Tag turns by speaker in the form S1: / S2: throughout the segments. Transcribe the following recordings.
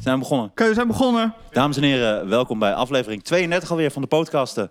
S1: Zijn we begonnen.
S2: Oké, we zijn begonnen.
S1: Dames en heren, welkom bij aflevering 32 alweer van de podcasten.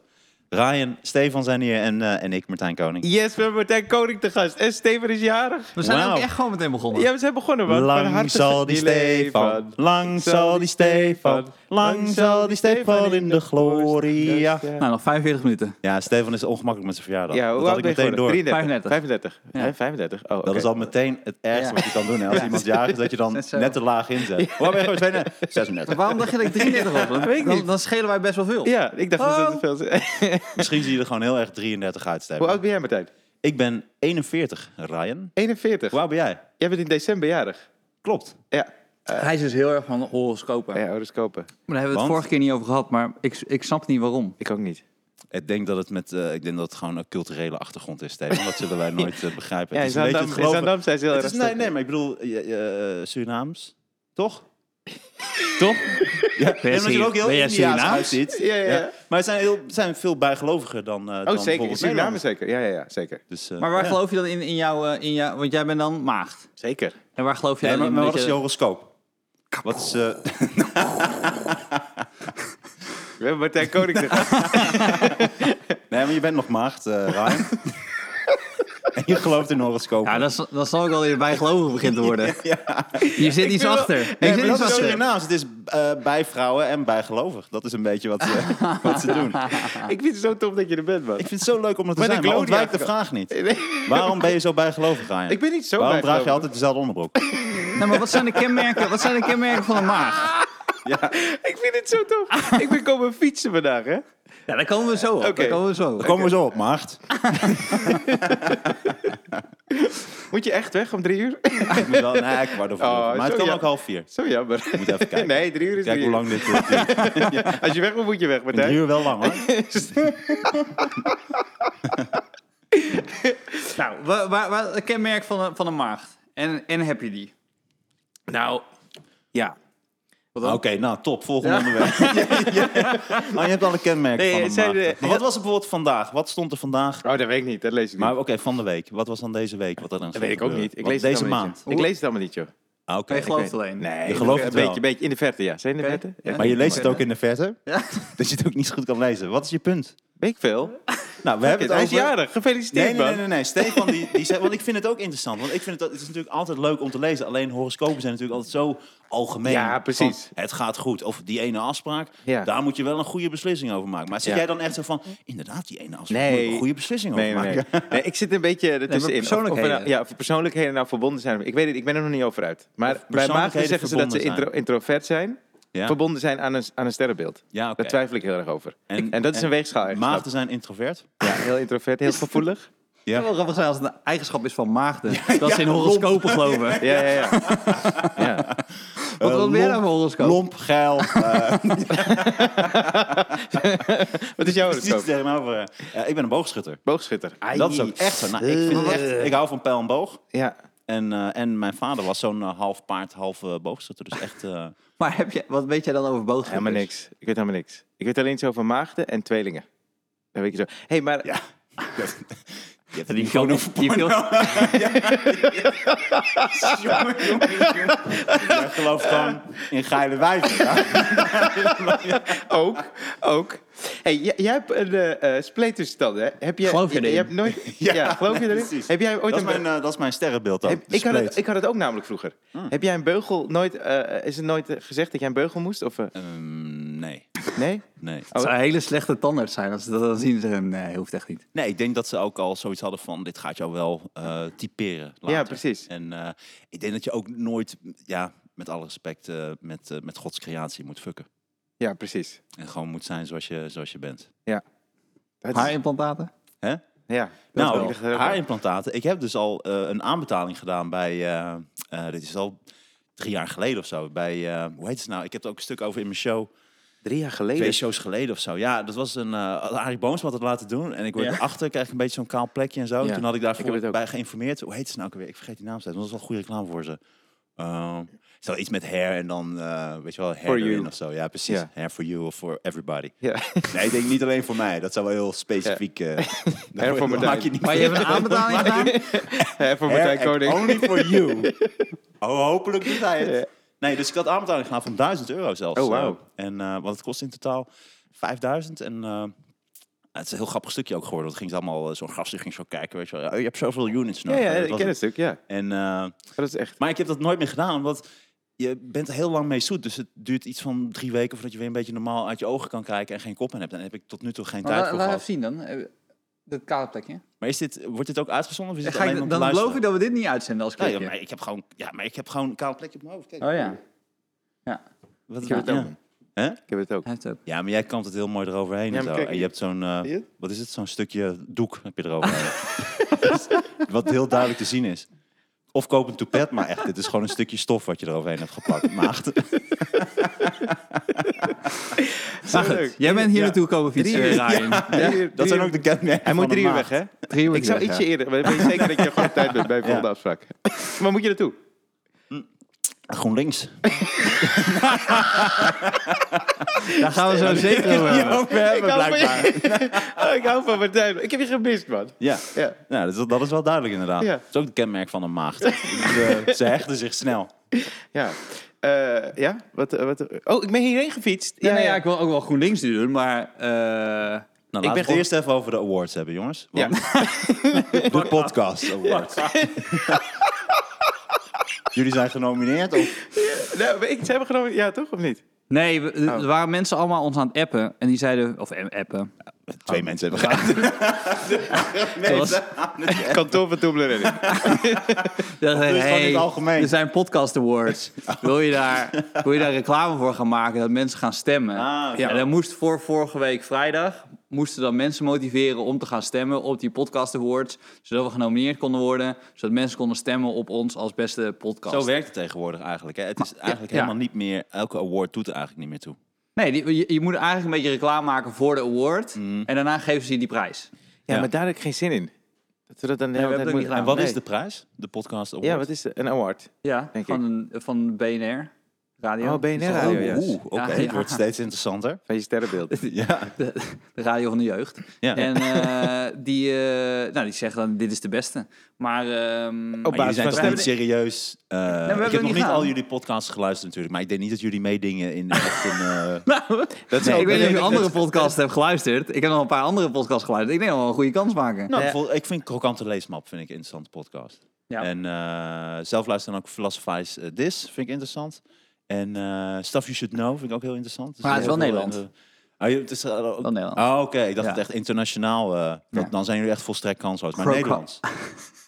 S1: Ryan, Stefan zijn hier en, eh, en ik, Martijn Koning.
S3: Yes, we hebben Martijn Koning te gast. En Steven is jarig.
S2: We zijn
S1: Wauw.
S2: ook echt gewoon meteen begonnen.
S3: Ja, we zijn begonnen, man. Van
S1: Lang
S3: harte
S1: zal die
S3: leven.
S1: Stefan, lang zal die Stefan, lang zal die Stefan in de
S3: Dus,
S1: gloria.
S3: eh,
S2: Nou, nog 45 minuten.
S1: Ja, Stefan is ongemakkelijk met zijn verjaardag.
S3: Ja,
S1: dat
S3: hoe
S1: had
S3: oud
S1: ik
S3: ben je
S1: meteen door.
S3: geworden?
S2: 35.
S3: 35.
S2: Ja.
S3: Hè, 35. Oh,
S1: Dat is al meteen het ergste
S2: Ja.
S1: wat je kan doen. Hè? Als iemand jarig is, dat je dan
S2: Net zo.
S1: net te laag inzet. Hoe oud ben je gewoon? 32? 36.
S2: Waarom dacht je dat ik 33 was? Want
S3: Weet ik
S2: dan,
S3: niet.
S2: dan schelen wij best wel veel.
S3: Ja, ik dacht
S2: Oh.
S3: dat het veel
S1: Misschien zie je er gewoon heel erg 33 uit, Stefan.
S3: Hoe oud ben jij, Martijn?
S1: Ik ben 41, Ryan.
S3: 41.
S1: Hoe oud ben jij?
S3: Jij bent in december jarig.
S1: Klopt.
S3: Ja.
S2: Hij is dus heel erg van horoscopen.
S3: Ja, horoscopen.
S2: Maar daar hebben we het
S1: Want?
S2: vorige keer niet over gehad, maar ik, ik snap niet waarom.
S3: Ik ook niet.
S1: Ik denk dat het, met, eh, ik denk dat het gewoon een culturele achtergrond is, Stefan. Dat zullen wij nooit eh, begrijpen.
S3: Ja, in
S1: het is een beetje
S3: Zandam,
S1: het
S3: in
S1: geloven.
S3: Zandam zijn ze heel
S1: Het
S3: erg
S1: is, nee,
S3: sterk.
S1: nee, maar ik bedoel, eh, eh, Surinaams. Toch? Toch? Ja, en omdat je er ook heel
S2: ben jij
S1: Indiaans
S2: Surinaams?
S1: uitziet.
S3: Ja, ja, ja.
S1: Maar het zijn, heel, zijn veel bijgeloviger dan, eh dan
S3: Oh, zeker. In
S1: bijvoorbeeld
S3: Suriname
S1: Nederlanders.
S3: zeker. Ja, ja, ja, zeker.
S1: Dus, eh,
S2: Maar waar
S1: ja.
S2: geloof je dan in, in jouw... eh, in jou, want jij bent dan maagd.
S3: Zeker.
S2: En waar geloof je
S1: Nee,
S2: dan
S1: maar,
S2: in?
S1: maar
S2: dat
S1: wat is
S2: je-
S1: je horoscoop? Wat is... eh,
S3: We hebben Martijn Koning te gast.
S1: nee, maar je bent nog maagd, eh Ryan. en je gelooft in horoscoop.
S2: Ja, dat, is- dat zal ook al weer bijgelovig begint te worden. Hier zit iets
S3: wil-
S2: achter.
S3: Nee,
S2: Hier
S3: maar
S2: zit
S1: dat
S2: iets
S1: is
S2: achter.
S1: Surinaams. Het is eh, bij vrouwen en bijgelovig. Dat is een beetje wat ze, wat ze doen.
S3: ik vind het zo tof dat je er bent, man.
S1: Ik vind het zo leuk om het te
S3: Maar
S1: zijn,
S3: ik
S1: maar
S3: geloof
S1: ontwijk de
S3: niet
S1: vraag niet.
S3: Nee.
S1: Waarom ben je zo bijgelovig, Ryan?
S3: Ik ben niet zo
S1: Waarom draag je
S3: bijgelovig.
S1: altijd dezelfde onderbroek?
S2: Nou, maar wat zijn de kenmerken, wat zijn de kenmerken van een maag?
S3: Ik vind het zo tof. ik ben komen fietsen vandaag, hè?
S2: Ja, daar komen we zo op. Daar
S3: Oké.
S2: komen we zo op.
S1: Daar komen we zo op, maagd.
S3: Moet je echt weg om drie uur?
S1: Ik moet wel, nee, kwart over
S3: Oh,
S1: vier. Maar het
S3: zo
S1: kan
S3: ja.
S1: ook half vier.
S3: Zo jammer.
S1: Moet even kijken.
S3: Nee, drie uur is
S1: Kijk
S3: drie
S1: hoe
S3: uur.
S1: lang dit eh, duurt. Ik
S3: Als je weg moet, moet je weg,
S1: vind drie
S3: Martijn.
S1: uur wel lang, hoor.
S2: Nou, wa- wa- wa- het kenmerk van een, van een maagd. En, en heb je die?
S3: Nou, ja.
S1: Oké, nou, top. Volgende onderwerp. Ja, ja. Maar je hebt alle kenmerken
S3: Nee,
S1: van
S3: het
S1: een
S3: zijn
S1: maagd.
S3: de-
S1: Maar wat was er bijvoorbeeld vandaag? Wat stond er vandaag?
S3: Oh, dat weet ik niet. Dat lees ik niet.
S1: Maar oké, van de week. Wat was dan deze week? Wat er dan
S3: dat weet ik ook niet. Ik
S1: Wat
S3: lees het
S1: deze
S3: allemaal
S1: maand.
S3: Niet, joh. ik lees het allemaal niet, joh.
S1: Ah, oké.
S2: Maar je gelooft
S3: weet-
S2: alleen.
S3: Nee,
S1: Je gelooft
S3: een
S1: het wel.
S3: beetje, beetje in de verte, ja. Zijn in de
S2: Oké.
S3: verte? Ja.
S1: Maar je leest het ook in de verte. Dus je het ook niet zo goed kan lezen. Wat is je punt?
S3: Weet ik veel.
S1: Nou, we hebben het
S3: Hij is
S1: over...
S3: jarig. Gefeliciteerd,
S1: Nee, nee, nee,
S3: man.
S1: nee, nee. Stefan die, die zei, want ik vind het ook interessant. Want ik vind het, het is natuurlijk altijd leuk om te lezen. Alleen horoscopen zijn natuurlijk altijd zo algemeen.
S3: Ja, precies.
S1: Van, het gaat goed. Of die ene afspraak,
S3: Ja.
S1: daar moet je wel een goede beslissing over maken. Maar zit
S3: Ja.
S1: jij dan echt zo van, inderdaad, die ene afspraak
S3: Nee.
S1: moet ik een goede beslissing
S3: Nee,
S1: over
S3: nee,
S1: maken?
S3: nee. Nee, ik zit een beetje ertussenin. Of- of we
S2: persoonlijkheden.
S3: nou- ja, of persoonlijkheden nou verbonden zijn. Ik weet het, ik ben er nog niet over uit. Maar bij maagden
S1: persoonlijkheden
S3: zeggen ze dat ze
S1: verbonden
S3: intro-
S1: zijn.
S3: introvert zijn.
S1: Ja.
S3: Verbonden zijn aan een, aan een sterrenbeeld.
S1: Ja, oké.
S3: Daar twijfel ik heel erg over. Ik- En,
S1: En-
S3: dat is
S1: en
S3: een weegschaal.
S1: Maagden zijn introvert.
S3: Ja, heel introvert, heel gevoelig.
S2: Het zou wel grappig zijn als het een eigenschap is van maagden. dat ze in horoscopen geloven.
S3: Ja, ja, ja. ja.
S2: Wat
S1: Eh,
S2: wil jij
S1: lomp,
S2: nou voor horoscoop?
S1: Lomp, geil. eh,
S3: Wat is jouw
S1: precies
S3: horoscoop?
S1: tegenover. Eh, ik ben een boogschutter.
S3: Boogschutter. Ai.
S1: Dat is ook echt zo. Nou, ik, vind echt, ik hou van pijl en boog.
S3: Ja.
S1: En, eh, en mijn vader was zo'n eh, half paard, half eh, boogschutter. Dus echt... eh,
S2: Maar heb je, wat weet jij dan over boodschappen?
S3: Helemaal niks. Ik weet helemaal niks. Ik weet alleen zo van maagden en tweelingen. Dat weet je zo. hey, maar...
S1: Ja. Je hebt het
S2: Die
S1: niet gewoon
S2: film-
S1: over
S2: die
S1: porno. Jongen, jongen, jongen. Jij gelooft gewoon in geile wijven. hè?
S3: Ook, ook. hey, jij, jij hebt een eh eh, spleet tussen tanden, hè? Heb jij,
S2: Geloof je
S3: jij,
S2: erin?
S3: hebt nooit, ja, geloof je
S1: nee,
S3: erin?
S1: precies.
S3: Heb jij ooit
S1: Dat is
S3: een...
S1: mijn, eh, dat is mijn sterrenbeeld dan.
S3: heb-
S1: de
S3: ik, had het,
S1: spleet.
S3: ik had het ook namelijk vroeger.
S1: Hmm.
S3: Heb jij een beugel nooit... eh, is het nooit eh, gezegd dat jij een beugel moest? Of, eh,
S1: Ehm, nee,
S3: nee?
S1: nee.
S2: Het zou een hele slechte tandarts zijn als ze dat dan zien. Ze zeggen, nee, hoeft echt niet.
S1: Nee, ik denk dat ze ook al zoiets hadden van... dit gaat jou wel eh, typeren later.
S3: Ja, precies.
S1: En eh, ik denk dat je ook nooit, ja, met alle respect... eh, met, eh, met Gods creatie moet fucken.
S3: Ja, precies.
S1: En gewoon moet zijn zoals je, zoals je bent.
S3: Dat is-
S2: Haarimplantaten?
S1: Hè?
S3: Ja. dat
S1: Nou,
S3: is wel-
S1: haarimplantaten. Ik heb dus al eh, een aanbetaling gedaan bij... eh, eh, dit is al drie jaar geleden of zo. Bij, eh, hoe heet het nou? Ik heb er ook een stuk over in mijn show.
S3: Drie jaar geleden.
S1: Twee shows geleden of zo. Ja, dat was een... eh Arie Booms had het laten doen. En ik word
S2: Ja.
S1: erachter, krijg ik een beetje zo'n kaal plekje en zo.
S2: Ja.
S1: Toen had ik
S3: Ik heb
S1: daarvoor
S3: het ook.
S1: bij geïnformeerd. Hoe heet ze nou ook weer? Ik vergeet die naam steeds. want Dat was wel een goede reclame voor ze. Ehm, Ze hadden iets met hair en dan, eh, weet je wel, hair
S3: For you.
S1: erin of zo. Ja, precies.
S3: Ja.
S1: Hair for you of for everybody.
S3: Ja.
S1: Nee, ik denk niet alleen voor mij. Dat zou wel heel specifiek... eh
S3: Hair for Martijn.
S1: maak je niet
S2: Maar je hebt een aanbetaling gedaan?
S3: Hè, voor
S1: Hair
S3: Martijn
S1: act
S3: Koning.
S1: Only for you. Oh, hopelijk doet hij het. Nee, dus ik had aanbetaling gedaan van 1000 euro zelfs.
S3: Oh, wauw.
S1: Eh, En eh, want het kost in totaal 5000. En eh, het is een heel grappig stukje ook geworden. Want het ging ze allemaal, eh, zo'n gast ging zo kijken, weet je wel. Oh, je hebt zoveel units
S3: Ja,
S1: nodig.
S3: ja,
S1: Dat
S3: ik
S1: was
S3: ken het stuk, ja.
S1: En, eh,
S3: Maar dat is echt...
S1: maar ik heb dat nooit meer gedaan, want je bent er heel lang mee zoet. Dus het duurt iets van drie weken voordat je weer een beetje normaal uit je ogen kan kijken en geen kop in hebt. En daar heb ik tot nu toe geen
S2: Maar
S1: tijd
S2: la-
S1: voor
S2: laat
S1: gehad.
S2: even zien dan. Eh, Dat kale plekje.
S1: Maar is dit, wordt dit ook uitgezonden of is dit
S2: Ga
S1: alleen
S2: ik,
S1: om
S2: dan
S1: te luisteren?
S2: beloof ik dat we dit niet uitzenden als
S1: Ja,
S2: clipje.
S1: ja, maar ik heb gewoon, ja, maar ik heb gewoon een kaal plekje op mijn hoofd. Kijk,
S2: Oh ja,
S1: wat
S3: Ik heb het ook.
S1: ja. Hè?
S3: Ik heb het ook.
S2: hij heeft het.
S1: ja, maar jij kant het heel mooi eroverheen
S3: Ja,
S1: en
S3: maar
S1: zo.
S3: kijk,
S1: en je hebt zo'n, eh,
S3: zie je het?
S1: wat is het, zo'n stukje doek heb je eroverheen. Dus wat heel duidelijk te zien is. Of koop een toepet, maar echt, dit is gewoon een stukje stof wat je eroverheen hebt gepakt. Maagd.
S3: Zo
S2: Maar goed,
S3: leuk.
S2: jij bent hier
S1: Ja.
S2: naartoe komen fietsen,
S3: Drie uur.
S2: Ryan.
S3: Drie uur-
S1: Dat zijn
S3: drie
S1: ook de kenmerken
S3: Hij
S1: van
S3: moet
S1: een
S3: drie uur weg,
S1: maagd.
S3: hè?
S2: Drie uur
S3: Ik zou
S2: weg,
S3: ietsje
S2: ja.
S3: eerder, maar dan weet je zeker dat je gewoon op tijd bent bij de volgende afspraak. Maar moet je naartoe?
S1: GroenLinks.
S2: Daar gaan we zo zeker over hebben.
S1: ook weer hebben,
S3: hou van je. Oh, ik hou van Martijn. Ik heb je gemist, man.
S1: Ja,
S3: Ja.
S1: ja dat, is, dat is wel duidelijk inderdaad.
S3: Ja.
S1: Dat is ook het kenmerk van een maagd. Ze- ze hechten zich snel.
S3: Ja. Eh, ja? Wat, eh, wat, eh, oh, ik ben hierheen gefietst.
S2: Ja, nee, ja, ik wil ook wel GroenLinks doen, maar... eh,
S1: Nou,
S3: Ik
S1: laten we
S3: ben
S1: het
S3: gewoon-
S1: eerst even over de awards hebben, jongens.
S3: Ja.
S1: Want de podcast awards. Jullie zijn genomineerd op...
S3: Nou, maar ik, ze hebben genomen... Ja, toch? Of niet?
S2: nee, we- eh,
S1: Oh.
S2: er waren mensen allemaal ons aan het appen. En die zeiden... Of em- appen.
S1: Twee mensen hebben gehad.
S2: Zoals-
S3: Kantoor van Toebler
S2: Die zeiden,
S1: is gewoon in het
S2: hey,
S1: algemeen. Oh.
S2: Er zijn podcast awards. Wil, je daar, wil je daar reclame voor gaan maken dat mensen gaan stemmen?
S1: Ah, oké.
S2: ja. En dan moest voor vorige week vrijdag... moesten dan mensen motiveren om te gaan stemmen op die podcast awards. Zodat we genomineerd konden worden. Zodat mensen konden stemmen op ons als beste podcast.
S1: Zo werkt het tegenwoordig eigenlijk. Hè. Het is eigenlijk
S2: ja.
S1: helemaal niet meer... Elke award doet er eigenlijk niet meer toe.
S2: Nee, die- je, je moet eigenlijk een beetje reclame maken voor de award.
S1: Mhm.
S2: En daarna geven ze je die prijs.
S3: Ja,
S1: Ja.
S3: maar daar heb ik geen zin in. Dat we dat dan de
S2: Nee,
S3: hele
S2: we
S3: tijd
S2: hebben het
S3: moeten-
S2: ook
S1: En
S2: niet
S1: wat
S3: Nee.
S1: is de prijs? De podcast award?
S3: Ja, wat is de- een award?
S2: Ja,
S3: Denk
S2: van, een- van BNR Radio.
S3: Oh, BNR
S2: Is dat
S3: radio,
S2: ook?
S3: ja.
S1: Oeh, oké.
S2: Ja,
S1: Het
S2: ja.
S1: wordt steeds interessanter.
S3: Van je sterrenbeeld.
S1: Ja.
S2: De, de radio van de jeugd.
S1: ja.
S2: En eh, die, eh, nou, die zeggen dan, dit is de beste. Maar, ehm,
S3: Op
S1: Maar jullie
S3: basis
S1: zijn
S3: van
S1: toch niet
S3: stemmen.
S1: serieus? eh,
S2: hebben
S1: ik heb
S2: het
S1: nog
S2: niet
S1: niet al
S2: gedaan.
S1: jullie podcasts geluisterd natuurlijk, maar ik denk niet dat jullie meedingen in echt een... eh,
S2: nou,
S3: Dat
S2: ik weet niet of je
S3: een
S2: andere podcasts hebt geluisterd. Ik heb nog een paar andere podcasts geluisterd. Ik denk dat we wel een goede kans maken.
S1: Nou,
S3: Ja.
S1: bijvoorbeeld, ik vind Krokante Leesmap vind ik een interessante podcast.
S2: Ja.
S1: En eh, zelf luisteren ook Philosophize eh, This, vind ik interessant. En eh, Stuff You Should Know vind ik ook heel interessant. Dus
S2: Maar het is
S1: heel
S2: wel
S1: veel
S2: Nederland.
S1: in de- Oh, je- het is eh, ook-
S2: Wel Nederland.
S1: Oh, oké. Ik dacht
S2: Ja.
S1: het echt internationaal. eh, dat,
S2: Ja.
S1: Dan zijn jullie echt volstrekt kansloos. Maar
S2: Krokant.
S1: Nederlands.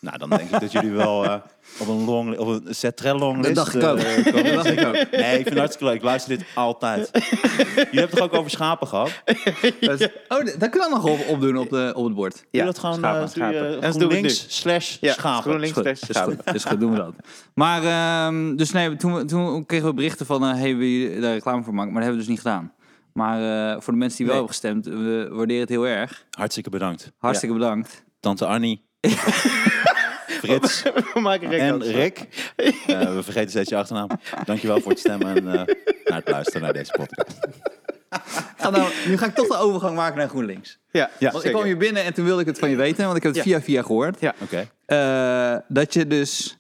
S1: nou, dan denk ik dat jullie wel eh, op een long, op een zetrel long
S2: Dat
S1: list,
S2: dacht ik
S1: eh,
S2: ook. Dat dacht ik ook.
S1: Nee, ik vind het hartstikke leuk. Ik luister dit altijd. Jullie hebben het ook over schapen gehad? Doe
S2: Dat is- oh, d- dat kunnen we nog op, opdoen op, de, op het bord.
S3: Ja,
S1: dat gewoon
S3: schapen,
S1: eh, doe je,
S3: schapen. En
S1: eh,
S3: dat doen we
S1: GroenLinks slash
S3: Ja,
S1: schapen.
S3: GroenLinks.
S2: Is goed,
S3: tegen
S2: is
S3: schapen.
S2: goed, is goed, doen we dat. Maar ehm, dus nee, toen, we- toen kregen we berichten van, eh hey, wil je daar reclame voor maken? Maar dat hebben we dus niet gedaan. Maar eh, voor de mensen die wel
S3: Nee.
S2: hebben gestemd, eh, we waarderen het heel erg.
S1: Hartstikke bedankt.
S2: Hartstikke bedankt.
S1: Tante Annie. Frits
S3: We maken geen
S1: en
S3: kans.
S1: Rick. Eh, we vergeten steeds je achternaam. Dankjewel voor het stemmen en eh, naar het luisteren naar deze podcast.
S2: Ga nou, nu ga ik toch de overgang maken naar GroenLinks.
S3: Ja,
S1: Ja.
S2: Want
S3: want
S2: ik kwam hier binnen en toen wilde ik het van je weten, want ik heb het
S3: Ja.
S2: via via gehoord.
S1: Oké.
S2: Eh, dat je dus,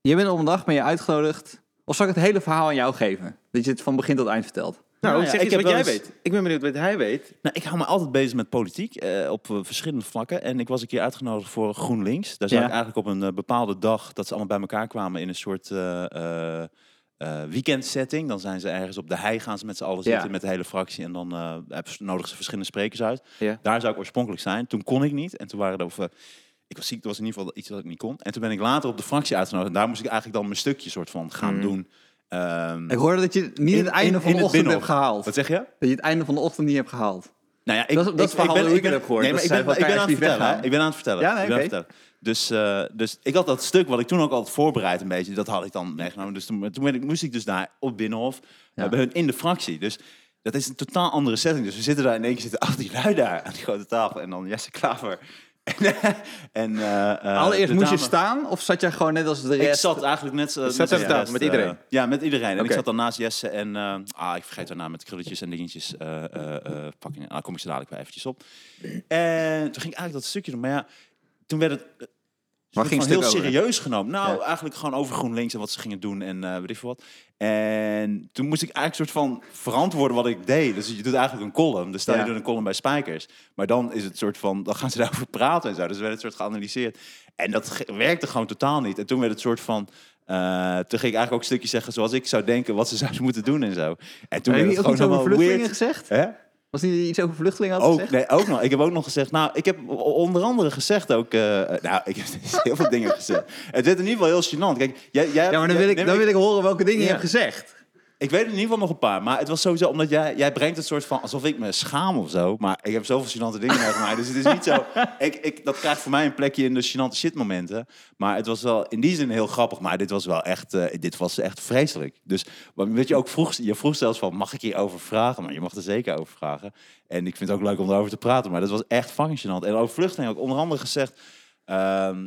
S2: je bent op een dag ben je uitgenodigd. Of zal ik het hele verhaal aan jou geven? Dat je het van begin tot eind vertelt.
S3: Nou,
S1: Nou ja,
S3: zeg
S1: ik
S3: eens
S1: heb
S3: wat jij
S1: wel eens-
S3: weet. Ik ben benieuwd wat hij weet.
S1: Nou, ik hou me altijd bezig met politiek eh, op eh, verschillende vlakken. En ik was een keer uitgenodigd voor GroenLinks. Daar zou
S2: Ja.
S1: ik eigenlijk op een eh, bepaalde dag dat ze allemaal bij elkaar kwamen in een soort eh, eh, eh, weekendsetting. Dan zijn ze ergens op de hei gaan ze met z'n allen
S2: Ja.
S1: zitten met de hele fractie. En dan eh, hebben ze- nodigen ze verschillende sprekers uit.
S3: Ja.
S1: Daar zou ik oorspronkelijk zijn. Toen kon ik niet. En toen waren er of, eh, ik was ziek, dat was in ieder geval iets dat ik niet kon. En toen ben ik later op de fractie uitgenodigd. En daar moest ik eigenlijk dan mijn stukje soort van gaan
S2: Mm.
S1: doen. Ehm,
S2: Ik hoorde dat je niet
S1: in-
S2: het einde
S1: in-
S2: van
S1: in
S2: de
S1: het
S2: ochtend hebt
S1: Binnenhof.
S2: gehaald.
S1: Wat zeg je?
S2: Dat je het einde van de ochtend niet hebt gehaald.
S1: Nou ja, ik,
S2: Dat is- dat is
S1: ik-
S2: het verhaal dat ik
S1: ben-
S2: heb gehoord.
S1: Nee, maar
S2: Dat
S1: ik ben,
S2: zij van
S1: ik ben
S2: elkaar
S1: aan het
S2: is die
S1: vertellen.
S2: weggaan.
S1: hè. Ik ben aan het vertellen.
S2: Ja, nee,
S1: ik ben aan het
S2: oké.
S1: vertellen. Dus, eh, dus ik had dat stuk wat ik toen ook al had voorbereid een beetje. Dat had ik dan meegenomen. Dus toen, toen ben ik, moest ik dus daar op Binnenhof eh,
S2: Ja.
S1: bij hun in de fractie. Dus dat is een totaal andere setting. Dus we zitten daar in één keer zitten achter die lui daar aan die grote tafel. En dan Jesse Klaver. en, eh, eh,
S2: Allereerst
S1: de
S2: moest je
S1: dame-
S2: staan of zat jij gewoon net als de
S1: ik
S2: rest?
S1: zat eigenlijk net... zo- net
S3: zat
S1: als
S3: aan
S1: de
S3: tafel
S1: rest,
S3: met
S1: eh,
S3: iedereen?
S1: ja, met iedereen. En
S3: Oké.
S1: ik zat dan naast Jesse en... eh, ah, ik vergeet haar naam met krulletjes en dingetjes. eh eh eh fucking, ah, kom ik ze dadelijk weer eventjes op. En toen ging ik eigenlijk dat stukje doen. Maar ja, toen werd het eh, Waar
S3: ging het
S1: heel
S3: stuk over?
S1: serieus genomen. Nou,
S3: Ja.
S1: eigenlijk gewoon over GroenLinks en wat ze gingen doen en eh weet ik veel wat. En toen moest ik eigenlijk soort van verantwoorden wat ik deed. Dus je doet eigenlijk een column. Dus stel
S3: Ja.
S1: je doet een column bij Spijkers. Maar dan is het soort van, dan gaan ze daarover praten en zo. Dus werd het soort geanalyseerd. En dat ge- werkte gewoon totaal niet. En toen werd het soort van... eh, toen ging ik eigenlijk ook stukjes zeggen zoals ik zou denken wat ze zouden moeten doen en zo. En toen
S2: Heb je
S1: werd
S2: niet
S1: het gewoon
S2: ook iets over
S1: helemaal
S2: vluchtelingen
S1: weird.
S2: gezegd?
S1: Hè?
S2: Was niet iets over vluchtelingen had
S1: Ook,
S2: gezegd?
S1: nee, ook nog. Ik heb ook nog gezegd, nou, ik heb o- onder andere gezegd ook, eh, eh, nou, ik heb heel veel dingen gezegd. Het werd in ieder geval heel gênant. Kijk, jij, jij
S2: Ja, maar
S1: jij-
S2: dan wil ik,
S1: nee,
S2: dan wil ik horen welke dingen je
S3: Ja.
S2: hebt gezegd.
S1: ik weet in ieder geval nog een paar, maar het was sowieso omdat jij, jij brengt het soort van alsof ik me schaam of zo. Maar ik heb zoveel gênante dingen meegemaakt, dus het is niet zo. Ik, ik, dat krijgt voor mij een plekje in de gênante shit momenten. Maar het was wel in die zin heel grappig, maar dit was wel echt, eh, dit was echt vreselijk. Dus wat weet je ook vroeg, je vroeg zelfs van mag ik hierover vragen? Maar je mag er zeker over vragen. En ik vind het ook leuk om daarover te praten, maar dat was echt fucking gênant. En over vluchtelingen ook onder andere gezegd. ehm,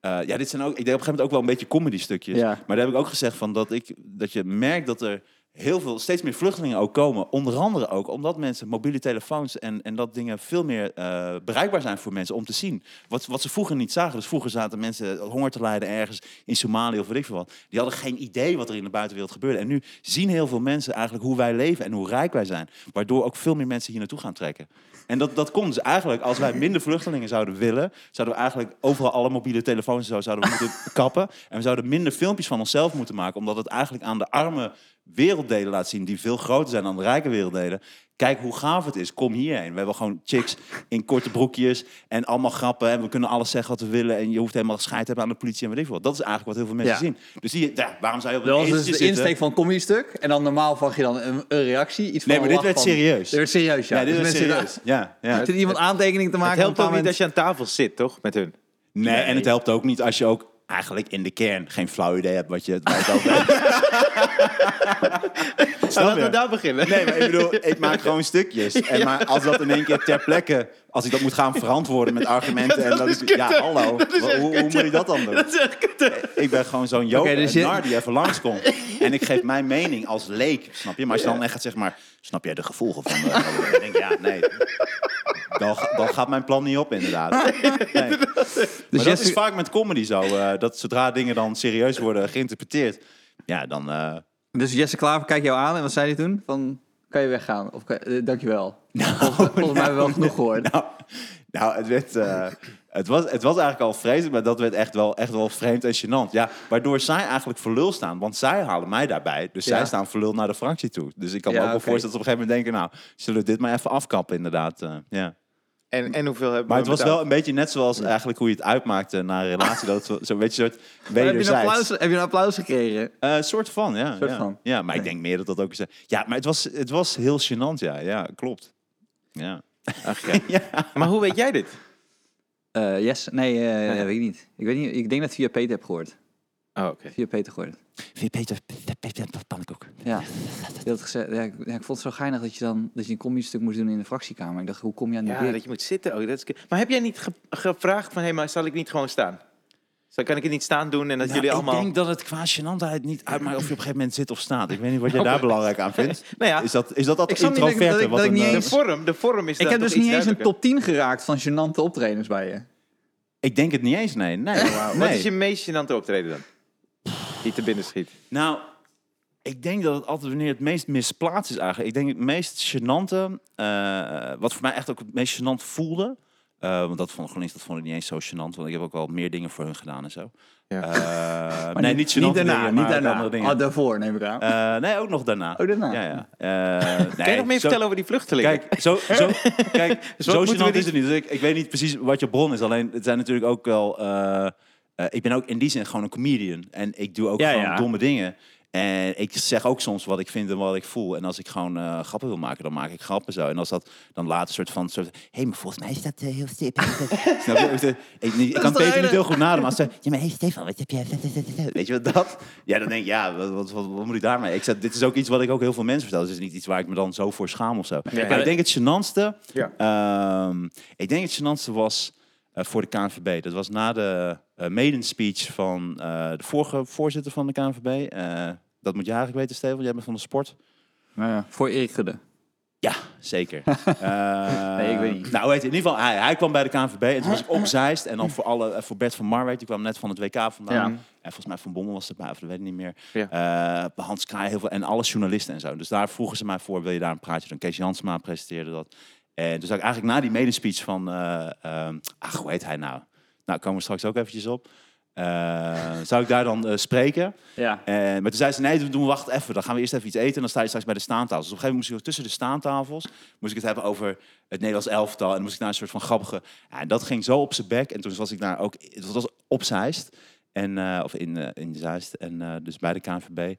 S1: eh, ja, dit zijn ook. Ik deed op een gegeven moment ook wel een beetje comedy stukjes.
S2: Ja.
S1: Maar daar heb ik ook gezegd van dat ik dat je merkt dat er heel veel, steeds meer vluchtelingen ook komen. Onder andere ook omdat mensen mobiele telefoons en, en dat dingen veel meer eh, bereikbaar zijn voor mensen om te zien. Wat, wat ze vroeger niet zagen. Dus vroeger zaten mensen honger te lijden ergens in Somalië of weet ik veel wat. Die hadden geen idee wat er in de buitenwereld gebeurde. En nu zien heel veel mensen eigenlijk hoe wij leven en hoe rijk wij zijn. Waardoor ook veel meer mensen hier naartoe gaan trekken. En dat, dat komt dus eigenlijk, als wij minder vluchtelingen zouden willen, zouden we eigenlijk overal alle mobiele telefoons en zo zouden we moeten kappen. En we zouden minder filmpjes van onszelf moeten maken, omdat het eigenlijk aan de arme werelddelen laat zien, die veel groter zijn dan de rijke werelddelen. Kijk hoe gaaf het is, kom hierheen. We hebben gewoon chicks in korte broekjes en allemaal grappen en we kunnen alles zeggen wat we willen en je hoeft helemaal scheid te hebben aan de politie en weet ik veel wat. Dat is eigenlijk wat heel veel mensen
S2: Ja.
S1: zien. Dus die, ja, waarom zou je op
S2: Dat was
S1: een
S2: dus
S1: eentje
S2: de
S1: zitten?
S2: insteek van kom je stuk. En dan normaal vang je dan een, een reactie. Iets van
S1: Nee, maar
S2: een
S1: dit werd
S2: lach van-
S1: serieus.
S2: Dit werd serieus, ja.
S1: Ja, dit
S2: Dus
S1: is
S2: mensen zitten-
S1: serieus. Ja, ja.
S2: Zit iemand aantekening te maken?
S3: Het helpt
S2: op een
S3: ook niet als
S2: bepaald
S3: je aan tafel zit, toch? Met hun.
S1: Nee, en het helpt ook niet als je ook eigenlijk in de kern geen flauw idee hebt wat je waar je het over hebt.
S3: Nou, laten we
S1: je?
S3: daar beginnen.
S1: Nee, maar ik bedoel, ik maak gewoon stukjes. En maar als dat in één keer ter plekke, als ik dat moet gaan verantwoorden met argumenten.
S3: Ja,
S1: en
S3: dat
S1: dat
S3: is
S1: ik-
S3: kut, hè?
S1: ja, hallo,
S3: Dat is
S1: wa-
S3: echt
S1: hoe, hoe
S3: kut,
S1: moet
S3: ja.
S1: ik dat dan doen?
S3: Dat is echt kut.
S1: Ik ben gewoon zo'n joker
S2: Oké, dus
S1: en
S2: je-
S1: nar die even langskomt. En ik geef mijn mening als leek, snap je? Maar als je dan echt gaat zeggen, maar snap jij de gevolgen van de... Dan denk ik, ja, nee. Dan, ga- dan gaat mijn plan niet op, inderdaad. Nee.
S2: Dus
S1: Maar dat is
S2: Jesse,
S1: vaak met comedy zo. eh, dat zodra dingen dan serieus worden geïnterpreteerd, ja, dan. eh,
S2: dus Jesse Klaver kijkt jou aan en wat zei hij toen? Van, kan je weggaan? Of kan, eh, dankjewel. Volgens- Volgens mij hebben we wel genoeg gehoord.
S1: nou, nou, het werd. eh, het was, het was eigenlijk al vreselijk, maar dat werd echt wel, echt wel vreemd en gênant. Ja, waardoor zij eigenlijk voor lul staan. Want zij halen mij daarbij. Dus
S2: Ja.
S1: zij staan voor lul naar de fractie toe. Dus ik kan me
S2: Ja,
S1: ook wel
S2: oké.
S1: voorstellen dat ze op een gegeven moment denken... nou, zullen we dit maar even afkappen inderdaad. eh, ja.
S3: En, en hoeveel hebben
S1: Maar
S3: we
S1: het was
S3: betaald?
S1: wel een beetje net zoals eigenlijk hoe je het uitmaakte... naar een relatie, dat het zo- zo'n beetje een soort
S2: Heb je, een
S1: wederzijds...
S2: applaus, heb je een applaus gekregen?
S1: Eh, soort van, ja.
S2: Soort
S1: ja.
S2: van.
S1: ja maar ik denk meer dat dat ook is. Ja, maar het was, het was heel gênant, ja. Ja, klopt. Ja.
S3: Maar hoe weet jij dit?
S2: Eh yes, nee, eh, dat weet ik niet. Ik weet niet. Ik denk dat ik via Peter heb gehoord.
S3: Oh, oké.
S2: Via Peter gehoord.
S1: Peter, Peter, pannenkoek.
S2: Ja, je had gezegd, ja, ik, ja, ik vond het zo geinig dat je dan dat je een comedy stuk moest doen in de fractiekamer. Ik dacht, hoe kom je aan die
S3: Ja,
S2: blik?
S3: dat je moet zitten. ook. dat is... kut. Maar heb jij niet ge- gevraagd van, hé, maar zal ik niet gewoon staan? Zal, kan ik het niet staan doen en dat jullie allemaal...
S1: Nou, Ik denk dat het qua gênantheid niet uitmaakt of je op een gegeven moment zit of staat. Ik weet niet wat jij daar belangrijk aan vindt.
S3: Nou ja,
S1: Is dat is dat, dat
S2: Ik snap niet dat ik-
S1: introverte? wat
S2: dat ik- dat ik
S1: een,
S2: niet
S1: eh,
S3: de, vorm, de vorm is
S2: ik heb dus niet eens een
S3: top.
S2: top 10 geraakt van gênante optredens bij je.
S1: ik denk het niet eens, nee. nee,
S3: Wat
S1: nee.
S3: is je meest gênante optreden dan? Die te binnen schiet.
S1: Nou, ik denk dat het altijd wanneer het meest misplaatst is eigenlijk. Ik denk het meest gênante, eh, wat voor mij echt ook het meest gênant voelde. eh, want dat vond ik GroenLinks, dat vond ik niet eens zo gênant. Want ik heb ook wel meer dingen voor hun gedaan en zo.
S3: Ja.
S1: Eh, nee, niet, gênante
S2: niet daarna,
S1: dingen, maar
S2: niet
S1: ook
S2: daarna.
S1: andere dingen.
S2: Ah, daarvoor neem ik aan.
S1: Eh, nee, ook nog daarna.
S2: Oh, daarna.
S1: Ja, ja. Eh,
S3: Kan je nog meer vertellen over die vluchtelingen?
S1: Kijk, zo, zo, kijk,
S3: wat
S1: zo
S3: moeten we
S1: gênant
S3: die-
S1: is het niet. Dus ik, ik weet niet precies wat je bron is. Alleen, het zijn natuurlijk ook wel... eh, eh, ik ben ook in die zin gewoon een comedian. En ik doe ook
S3: Ja,
S1: gewoon
S3: ja.
S1: domme dingen. En ik zeg ook soms wat ik vind en wat ik voel. En als ik gewoon eh, grappen wil maken, dan maak ik grappen zo. En als dat dan later een soort van... Soort, hey, maar volgens mij is dat eh, heel stip. Snap je? Ik, eh, ik, ik kan
S2: de
S1: Peter
S2: ene-
S1: niet heel goed nadenken. Als ze, ja, maar hey Stefan, wat heb jij... Weet je wat dat? Ja, dan denk ik, ja, wat, wat, wat, wat moet ik daarmee? Ik zeg, dit is ook iets wat ik ook heel veel mensen vertel. Dus het is niet iets waar ik me dan zo voor schaam of zo.
S3: Nee.
S1: Maar ik denk het gênantste...
S3: Ja.
S1: ehm, ik denk het gênantste was eh, voor de KNVB. Dat was na de eh maiden speech van eh, de vorige voorzitter van de KNVB.
S2: Nou
S1: Eh, dat moet je eigenlijk weten, Stefan. Jij bent van de sport.
S2: Voor Erik Gudde.
S1: Ja, zeker. Eh,
S2: Nee, ik weet niet.
S1: Nou, weet je, in ieder geval, hij, hij kwam bij de KNVB en toen was ik op Zeist. En dan voor, alle, eh, voor Bert van Marwijk, die kwam net van het WK vandaan.
S2: Ja.
S1: En volgens mij Van Bommel was erbij, of dat weet ik niet meer.
S3: Ja.
S1: Eh, bij Hans Kraai heel veel en alle journalisten en zo. Dus daar vroegen ze mij voor, wil je daar een praatje doen? Kees Jansma presenteerde dat. En toen zag ik eigenlijk na die medespeech van, eh, ehm, ach, hoe heet hij nou? Nou, komen we straks ook eventjes op. Eh, zou ik daar dan eh, spreken?
S2: Ja.
S1: En, Eh, maar toen zei ze, nee, doen we wacht even. Dan gaan we eerst even iets eten en dan sta je straks bij de staantafels. Dus op een gegeven moment moest ik tussen de staantafels... moest ik het hebben over het Nederlands elftal. En dan moest ik naar een soort van grappige... Ja, en dat ging zo op zijn bek. En toen was ik daar ook... Dat was op Zeist. En, eh, of in, eh, in Zeist. En eh, dus bij de KNVB.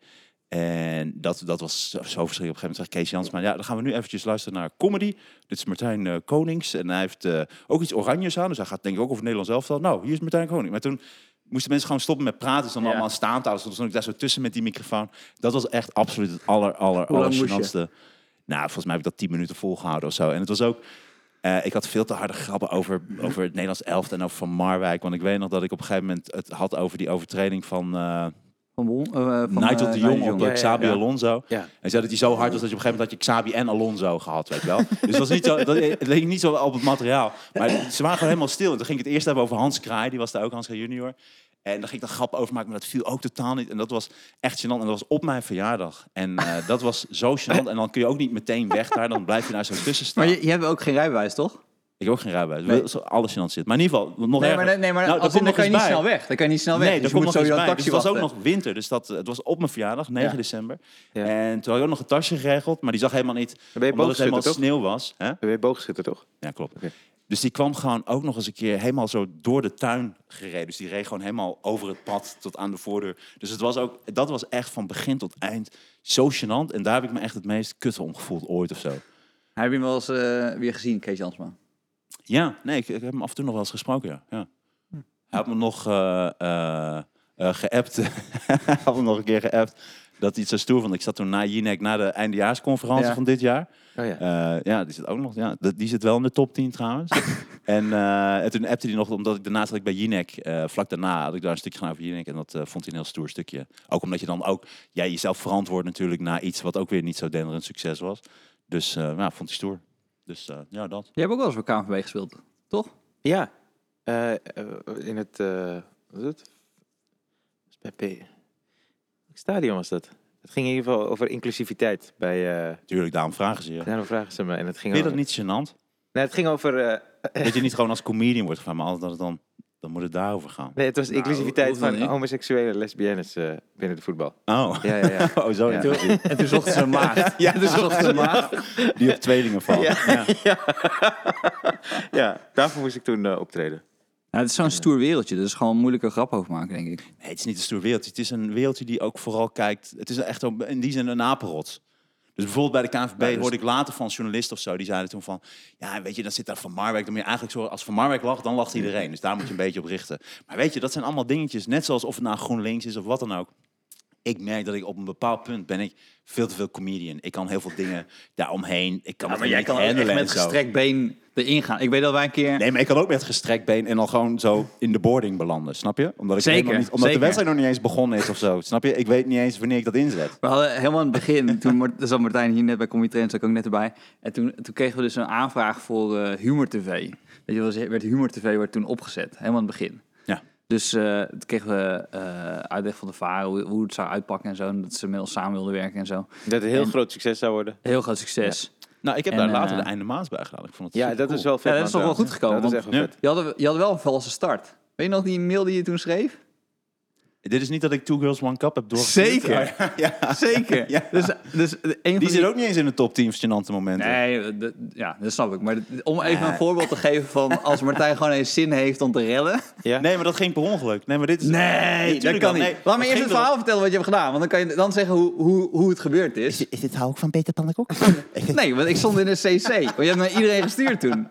S1: En dat, dat was zo, zo verschrikkelijk. Op een gegeven moment zegt Kees Jansma... Ja, dan gaan we nu eventjes luisteren naar comedy. Dit is Martijn eh, Konings. En hij heeft eh, ook iets oranjes aan. Dus hij gaat denk ik ook over het Nederlands elftal. Nou, hier is Martijn Konings. Maar toen... Moesten mensen gewoon stoppen met praten, dus dan
S2: Ja.
S1: allemaal staantafels. Toen stond ik daar zo tussen met die microfoon. Dat was echt absoluut het aller, aller,
S2: Hoe
S1: aller
S2: lang moest je?
S1: gênantste. Nou, volgens mij heb ik dat tien minuten volgehouden of zo. En het was ook... eh, ik had veel te harde grappen over, over het Nederlands elft en over Van Marwijk. Want ik weet nog dat ik op een gegeven moment het had over die overtreding van, eh,
S2: Van, Bon- eh, van
S1: Nigel
S2: eh,
S1: de Jong op
S3: Ja,
S1: eh,
S3: ja,
S1: Xabi
S3: ja.
S1: Alonso.
S3: Ja.
S1: En zei dat hij zo hard was dat je op een gegeven moment had je Xabi en Alonso gehad, weet je wel. dus dat, was niet zo, dat, het leek niet zo op het materiaal. Maar ze waren gewoon helemaal stil. En toen ging ik het eerst hebben over Hans Kraai, die was daar ook, Hans Kraai junior. En daar ging ik dan grap over maken, maar dat viel ook totaal niet. En dat was echt gênant. En dat was op mijn verjaardag. En eh, dat was zo gênant. En dan kun je ook niet meteen weg daar. Dan blijf je daar zo tussen staan.
S2: Maar je, je hebt ook geen rijbewijs, toch?
S1: Ik heb ook geen rijbewijs.
S2: Nee.
S1: Zo- Alles gênant zit. Maar in ieder geval, nog
S2: Nee,
S1: erger.
S2: maar, nee, maar
S1: Nou, daar komt
S2: als in, dan
S1: nog
S2: kan je
S1: eens
S2: niet
S1: bij.
S2: snel weg. Dan kan je niet snel weg.
S1: Nee, daar
S2: dus je
S1: komt
S2: moet
S1: nog iets
S2: sowieso
S1: bij.
S2: een taxi
S1: Dus het was ook
S2: wachten.
S1: nog winter, dus dat, eh, het was op mijn verjaardag, 9
S3: Ja.
S1: december.
S3: Ja.
S1: En toen had ik ook nog een tasje geregeld, maar die zag helemaal niet,
S3: ben je
S1: omdat het helemaal
S3: boogschutter, toch?
S1: sneeuw was. Hè?
S3: Ben je boogschutter, toch?
S1: Ja, klopt.
S3: Oké.
S1: Dus die kwam gewoon ook nog eens een keer helemaal zo door de tuin gereden. Dus die reed gewoon helemaal over het pad tot aan de voordeur. Dus het was ook, dat was echt van begin tot eind zo gênant. En daar heb ik me echt het meest kut om gevoeld ooit of zo.
S2: Heb je hem wel eens eh, weer gezien, Kees Jansma?
S1: Ja, nee, ik, ik heb hem af en toe nog wel eens gesproken, ja. ja. Hij had me nog eh, eh, eh, geappt. Hij had me nog een keer geappt dat hij het zo stoer vond. Ik zat toen na Jinek, na de eindejaarsconferentie
S2: Ja.
S1: van dit jaar.
S3: Oh ja.
S1: Eh, ja, die zit ook nog. Ja, dat- die zit wel in de top 10 trouwens. en, eh, en toen appte hij nog, omdat ik daarna zat ik bij Jinek. eh, vlak daarna had ik daar een stukje gaan over Jinek. En dat eh, vond hij een heel stoer stukje. Ook omdat je dan ook jij jezelf verantwoordt natuurlijk na iets wat ook weer niet zo denderend succes was. Dus eh ja, vond hij stoer. Dus eh, ja, dat.
S2: Je hebt ook wel eens voor KNVB gespeeld, toch?
S3: Ja. Eh, eh, in het... eh, wat is het? Was het Bij P... Welk stadion was dat? Het ging in ieder geval over inclusiviteit bij... eh
S1: Tuurlijk, daarom vragen ze je.
S3: daarom vragen ze me. En het ging
S1: Vind je
S3: over...
S1: dat niet gênant?
S3: Nee, het ging over... eh,
S1: Dat je niet gewoon als comedian wordt gevraagd, maar altijd dat het dan, dan moet het daarover gaan.
S3: nee, het was
S2: Nou,
S3: inclusiviteit
S2: hoeft wel
S3: van
S2: niet.
S3: homoseksuelen lesbiennes eh, binnen de voetbal.
S1: Oh,
S3: Ja, ja, ja.
S1: oh zo.
S3: Ja.
S1: Ja.
S2: En toen zochten ze een maagd.
S1: Ja,
S2: toen zochten ze een maagd.
S1: Die op tweelingen valt. Ja.
S3: ja, daarvoor moest ik toen eh, optreden.
S2: het is zo'n stoer wereldje, dus gewoon moeilijke grap over maken, denk ik.
S1: Nee, het is niet een stoer wereldje. Het is een wereldje die ook vooral kijkt... Het is echt een- in die zin een apenrots. Dus bijvoorbeeld bij de KNVB hoorde ik later van journalisten of zo... die zeiden toen van... Ja, weet je, dan zit daar Van Marwijk. Dan moet je eigenlijk zo... Als Van Marwijk lacht, dan lacht iedereen. Dus daar moet je een beetje op richten. Maar weet je, dat zijn allemaal dingetjes. Net zoals of het nou GroenLinks is of wat dan ook. Ik merk dat ik op een bepaald punt ben ik veel te veel comedian. Ik kan heel veel dingen daaromheen. Ik kan het
S2: maar jij
S1: helemaal
S2: kan
S1: niet
S2: ook echt
S1: handelen
S2: met
S1: en zo.
S2: gestrekt been erin gaan. Ik weet dat wij een keer...
S1: Nee, maar ik kan ook met gestrekt been en dan gewoon zo in de boarding belanden, snap je? Omdat, ik
S2: Zeker,
S1: helemaal niet, omdat de
S2: zeker.
S1: wedstrijd nog niet eens begonnen is of zo, snap je? Ik weet niet eens wanneer ik dat inzet.
S2: We hadden helemaal aan het begin, toen Mart- zat Martijn hier net bij Comedy Train, zat ik ook net erbij. En toen, toen kregen we dus een aanvraag voor eh, Humor TV. Weet je wel, ze- werd Humor TV werd toen opgezet, helemaal aan het begin.
S1: Ja.
S2: Dus eh, toen kregen we eh, uitleg van de varen, hoe, hoe het zou uitpakken en zo. En dat ze inmiddels samen wilden werken en zo.
S3: Dat het heel groot succes zou worden.
S2: Heel groot succes.
S1: Nou, ik heb
S2: En,
S1: daar
S2: eh,
S1: later de einde maas bij gedaan. Ik vond het
S3: Ja, dat is wel vet.
S2: Ja, dat is
S3: man,
S2: toch wel goed
S3: trouwens.
S2: gekomen,
S3: Dat is
S2: want-
S3: echt wel
S1: Ja.
S3: vet.
S2: Je, had, je had wel een valse start. Weet je nog die mail die je toen schreef?
S1: Dit is niet dat ik Two Girls One Cup heb doorgestuurd.
S2: Zeker.
S1: maar- ja.
S2: Zeker.
S1: Ja.
S2: Dus, dus een van
S1: Die
S2: die-
S1: zit ook niet eens in de top 10 gênante momenten.
S2: Nee, dat- ja, dat snap ik. Maar d- om even
S1: Ja.
S2: een voorbeeld te geven van als Martijn gewoon eens zin heeft om te rellen.
S3: Ja?
S1: Nee, maar dat ging per ongeluk. Nee, maar dit is...
S2: Nee, dat
S1: tuurlijk
S2: kan
S1: wel.
S2: niet.
S1: Nee,
S2: Laat
S1: dat
S2: me eerst
S1: ging
S2: het
S1: wel.
S2: verhaal vertellen wat je hebt gedaan. Want dan kan je dan zeggen hoe, hoe, hoe het gebeurd is.
S1: Is dit hou ik van Peter Pannenkoek?
S2: Nee, want ik stond in een CC. Want je hebt naar iedereen gestuurd toen.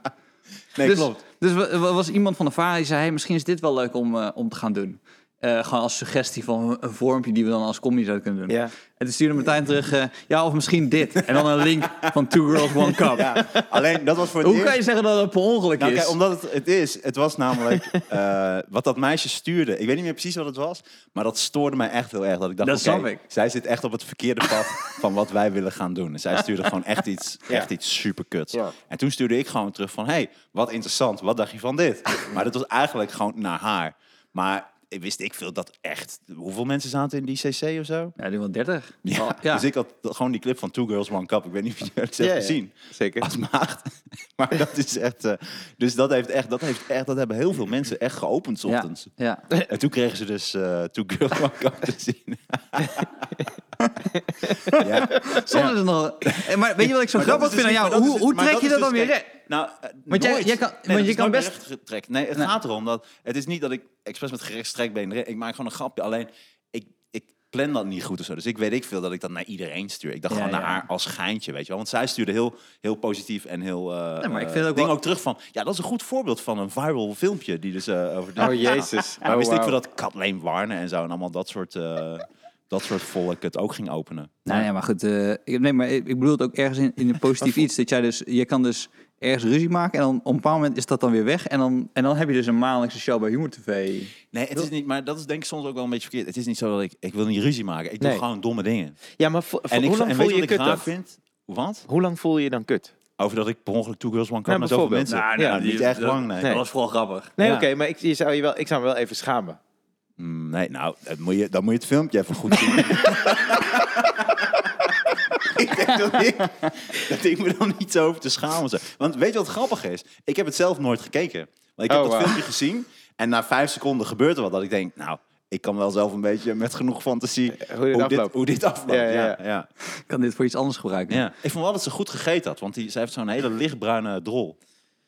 S1: Nee,
S2: dus,
S1: klopt.
S2: Dus er was iemand van de VARA die zei, hey, misschien is dit wel leuk om, eh, om te gaan doen. eh, gewoon als suggestie van een- een vormpje die we dan als comedy zouden kunnen doen.
S3: Ja.
S2: En toen stuurde Martijn terug, eh, ja, of misschien dit. En dan een link van Two Girls, One Cup.
S1: Ja, alleen dat was voor het
S2: Hoe
S1: eerst-
S2: kan je zeggen dat het per ongeluk
S1: Nou,
S2: is?
S1: kijk, omdat het, het is. Het was namelijk eh, wat dat meisje stuurde. Ik weet niet meer precies wat het was, maar dat stoorde mij echt heel erg. Dat ik dacht,
S2: Dat
S1: oké,
S2: snap ik.
S1: zij zit echt op het verkeerde pad van wat wij willen gaan doen. En zij stuurde gewoon echt iets, echt iets superkuts.
S3: Ja.
S1: En toen stuurde ik gewoon terug van, hey, wat interessant. Wat dacht je van dit? Maar dat was eigenlijk gewoon naar haar. Maar wist ik veel dat echt... Hoeveel mensen zaten in die cc of zo?
S2: Ja, die wel 30.
S1: Ja,
S2: Wel, ja.
S1: Dus ik had gewoon die clip van Two Girls, One Cup. Ik weet niet of je het
S3: Ja,
S1: hebt
S3: ja.
S1: gezien
S3: Zeker.
S1: als maagd. Maar dat is echt. eh, dus dat heeft echt, dat heeft echt, dat hebben heel veel mensen echt geopend 's
S2: ja.
S1: ochtends.
S2: ja.
S1: En toen kregen ze dus eh Two Girls One Cup te zien. ja.
S2: Soms is het nog... Eh, Maar weet je wat ik zo
S1: Maar dat
S2: grappig
S1: is dus niet-
S2: vind aan
S1: maar
S2: jou?
S1: dat is
S2: Hoe,
S1: dus-
S2: hoe
S1: maar
S2: trek
S1: dat
S2: je
S1: is
S2: dat dan
S1: dus
S2: weer
S1: kijk,
S2: recht?
S1: Nou, eh,
S2: Want jij-
S1: nooit.
S2: jij kan-
S1: Nee,
S2: want
S1: dat
S2: je
S1: is
S2: kan
S1: nooit
S2: best-
S1: rechtgetrekt. Nee, het
S2: Nee.
S1: gaat erom dat het is niet dat ik expres met gerechtstrekt ben. Ik maak gewoon een grapje. Alleen ik, ik plan dat niet goed of zo. Dus ik weet ik veel dat ik dat naar iedereen stuur. Ik dacht
S2: Ja,
S1: gewoon
S2: ja.
S1: naar haar als geintje, weet je wel. Want zij stuurde heel, heel positief en heel. eh
S2: Nee, maar ik
S1: eh,
S2: vind het ook
S1: ding
S2: wel-
S1: ook terug van. Ja, dat is een goed voorbeeld van een viral filmpje die dus eh, over.
S3: Oh, jezus.
S1: Maar
S3: Oh,
S1: wist ik
S3: wauw.
S1: veel dat Kathleen Warner en zo en allemaal dat soort. eh, dat soort volk het ook ging openen.
S2: Nou ja, maar goed. eh, ik, nee, maar ik, ik bedoel het ook ergens in, in een positief iets. Dat jij dus, je kan dus ergens ruzie maken en dan op een bepaald moment is dat dan weer weg. En dan, en dan heb je dus een maandelijkse show bij Humor TV.
S1: Nee, het is niet, maar dat is denk ik soms ook wel een beetje verkeerd. Het is niet zo dat ik, ik wil niet ruzie maken. Ik doe
S3: Nee.
S1: gewoon domme dingen.
S3: Ja, maar vo-
S1: En, ik,
S3: hoe lang
S1: en
S3: voel
S1: weet je
S3: je je
S1: wat ik
S3: kut dan?
S1: raar vind? Wat?
S3: Hoe lang voel je je dan kut?
S1: Over dat ik per ongeluk Two Girls One Cup
S3: Nou,
S1: naar zoveel
S3: bijvoorbeeld.
S1: mensen.
S2: Nou,
S1: ja,
S2: nou, die-
S1: niet echt
S2: dat-
S1: lang, nee.
S3: Nee.
S2: Dat was vooral grappig.
S3: Nee,
S1: Ja.
S3: oké, maar ik, je zou je wel, ik zou me wel even schamen.
S1: Mm, nee, nou, dat moet je, dan moet je het filmpje even goed zien. ik denk dat ik, dat ik me dan niet zo over te schamen zou. Want weet je wat grappig is? Ik heb het zelf nooit gekeken. Maar ik heb
S3: Oh,
S1: dat
S3: wauw.
S1: filmpje gezien en na vijf seconden gebeurt er wat. Dat ik denk, nou, ik kan wel zelf een beetje met genoeg fantasie
S3: Eh, dit
S1: hoe, dit,
S3: afloopt.
S1: hoe dit afloopt.
S3: Ja, ja,
S1: ja. ja.
S2: Ik kan dit voor iets anders gebruiken.
S1: Ja. Ik vond wel dat ze goed gegeten had, want die, zij heeft zo'n hele lichtbruine drol.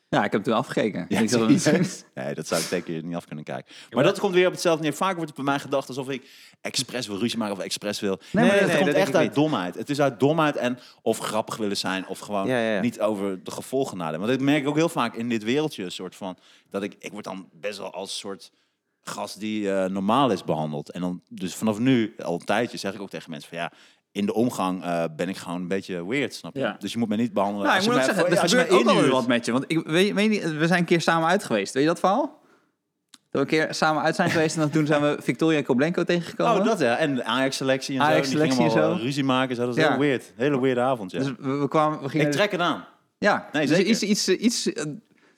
S2: Ja, ik heb het toen afgekeken. ik zat
S1: serieus.
S2: dan-
S1: nee, dat zou ik zeker niet af kunnen kijken. Maar dat komt weer op hetzelfde neer. Vaak wordt het bij mij gedacht alsof ik expres wil ruzie maken of expres wil. Nee,
S3: nee,
S1: maar het
S3: nee,
S1: komt
S3: dat denk
S1: echt
S3: ik
S1: uit
S3: niet.
S1: domheid. Het is uit domheid en of grappig willen zijn of gewoon
S3: Ja, ja, ja.
S1: niet over de gevolgen nadenken. Want dat merk ik ook heel vaak in dit wereldje, een soort van dat ik ik word dan best wel als soort gast die eh, normaal is behandeld. En dan dus vanaf nu al een tijdje zeg ik ook tegen mensen van ja. In de omgang eh, ben ik gewoon een beetje weird, snap je?
S2: Ja.
S1: Dus je moet me niet behandelen.
S2: Nou, ik
S1: als je
S2: moet ook
S1: mij-
S2: zeggen, er
S1: als je
S2: gebeurt
S1: mij
S2: ook alweer
S1: inhuurt.
S2: wat met je. Want ik weet, weet niet, we zijn een keer samen uit geweest. Weet je dat verhaal? Dat we een keer samen uit zijn geweest en dan toen zijn we Victoria Koblenko tegengekomen.
S1: Oh, dat ja. En de Ajax-selectie en zo. Die
S2: Ajax-selectie
S1: gingen
S2: en
S1: allemaal eh,
S2: zo.
S1: ruzie maken. Zo. Dat is
S2: Ja.
S1: heel weird. Hele weirde avond, ja.
S2: Dus we, we kwamen, we gingen...
S1: ik trek het aan.
S2: Ja,
S1: Nee,
S2: dus
S1: zeker.
S2: iets, iets, eh, iets... eh,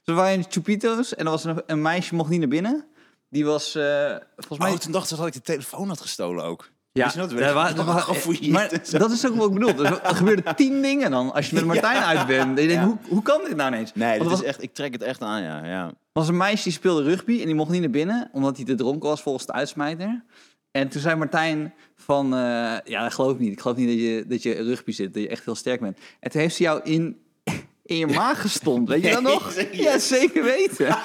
S2: Ze waren in Chupito's en er was een, een meisje mocht niet naar binnen. Die was, eh, volgens mij...
S1: Oh, toen dacht ze dat ik de telefoon had gestolen ook.
S2: ja,
S1: Wist je dat?
S2: daar wa- daar wa- maar dat is ook wat ik bedoel. Dus er gebeuren tien dingen dan als je met Martijn uit bent. En je denkt, hoe, hoe kan dit nou ineens?
S1: Nee,
S2: Want er
S1: dit
S2: was,
S1: is echt, ik trek het echt aan, ja. ja.
S2: was een meisje die speelde rugby en die mocht niet naar binnen. Omdat hij te dronken was volgens de uitsmijter. En toen zei Martijn van... eh, ja, dat geloof ik niet. Ik geloof niet dat je, dat je rugby zit. Dat je echt heel sterk bent. En toen heeft ze jou in... In je maag gestompt, weet je dat
S1: Nee,
S2: nog?
S1: serieus?
S2: Ja, zeker weten.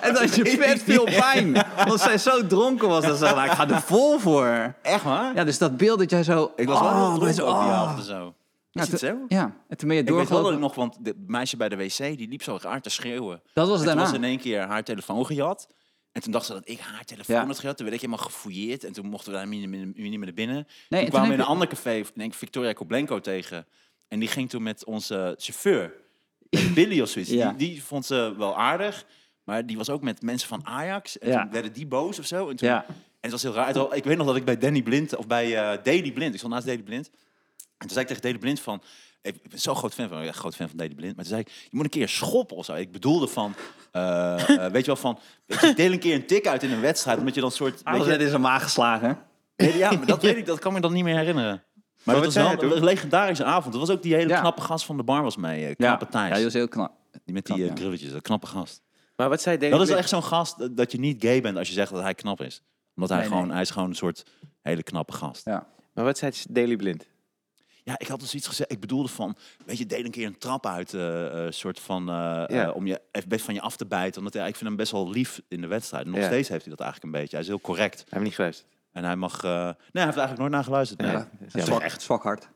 S2: en dat had je vet veel pijn. Omdat zij zo dronken was dat ze dacht, nou, ik ga er vol voor.
S1: Echt waar?
S2: Ja, dus dat beeld dat jij zo...
S1: Ik was
S2: oh,
S1: wel heel dronken
S2: dat je
S1: ook die
S2: oh.
S1: avond en zo.
S2: Ja,
S1: Is het
S2: toen-
S1: zo?
S2: Ja, en toen ben je
S1: Ik weet wel dat
S2: doorgelopen.
S1: ik nog, want de meisje bij de wc, die liep zo raar te schreeuwen.
S2: Dat was
S1: En
S2: daarna.
S1: Toen was in één keer haar telefoon gejat. En toen dacht ze dat ik haar telefoon
S2: Ja.
S1: had gejat. Toen werd ik helemaal gefouilleerd. En toen mochten we daar niet meer- niet meer naar binnen.
S2: en toen
S1: toen kwamen we
S2: heb
S1: in een
S2: je-
S1: ander café, denk ik, Victoria Koblenko tegen. En die ging toen met onze chauffeur, met Billy of zoiets.
S2: Ja.
S1: Die, die vond ze wel aardig. Maar die was ook met mensen van Ajax. En
S2: Ja.
S1: toen werden die boos of zo. En, toen,
S2: Ja.
S1: en het was heel raar. Het was- Ik weet nog dat ik bij Danny Blind, of bij eh Daily Blind. Ik stond naast Daily Blind. En toen zei ik tegen Dede Blind van... Ik ben zo'n groot fan van, echt groot fan van Dede Blind. Maar toen zei ik, je moet een keer schoppen of zo. Ik bedoelde van, eh, eh, weet je wel, van... Weet je, deel een keer een tik uit in een wedstrijd. Omdat je dan soort... weet
S2: Alles
S1: je-
S2: werd in zijn maag geslagen.
S1: Nee, ja, maar dat weet ik, dat kan me dan niet meer herinneren. Maar,
S3: wat
S1: dat was
S3: zei
S1: wel
S3: hij toen?
S1: een legendarische avond. Er was ook die hele
S2: Ja.
S1: knappe gast van de bar was mee. eh, knappe Thijs.
S2: Ja, die was heel knap.
S1: die met die
S2: knap,
S1: eh,
S2: ja.
S1: brilletjes, dat knappe gast.
S3: Maar wat zei Daily
S1: Dat is
S3: Blind?
S1: echt zo'n gast eh, dat je niet gay bent als je zegt dat hij knap is. Omdat hij
S2: Nee,
S1: gewoon,
S2: nee.
S1: hij is gewoon een soort hele knappe gast.
S2: Ja.
S3: Maar wat zei Daily Blind?
S1: Ja, ik had dus iets gezegd. Ik bedoelde van, weet je, deel een keer een trap uit, eh, eh, soort van, eh, eh, om je even best van je af te bijten. Omdat hij, ik vind hem best wel lief in de wedstrijd. En nog
S3: Ja.
S1: steeds heeft hij dat eigenlijk een beetje. Hij is heel correct.
S3: Hij heeft niet geluisterd.
S1: En hij mag, eh, nee, hij heeft eigenlijk nooit naar geluisterd. Nee.
S2: Ja.
S1: Ja.
S3: dat is
S2: Zwak, echt zwak hard.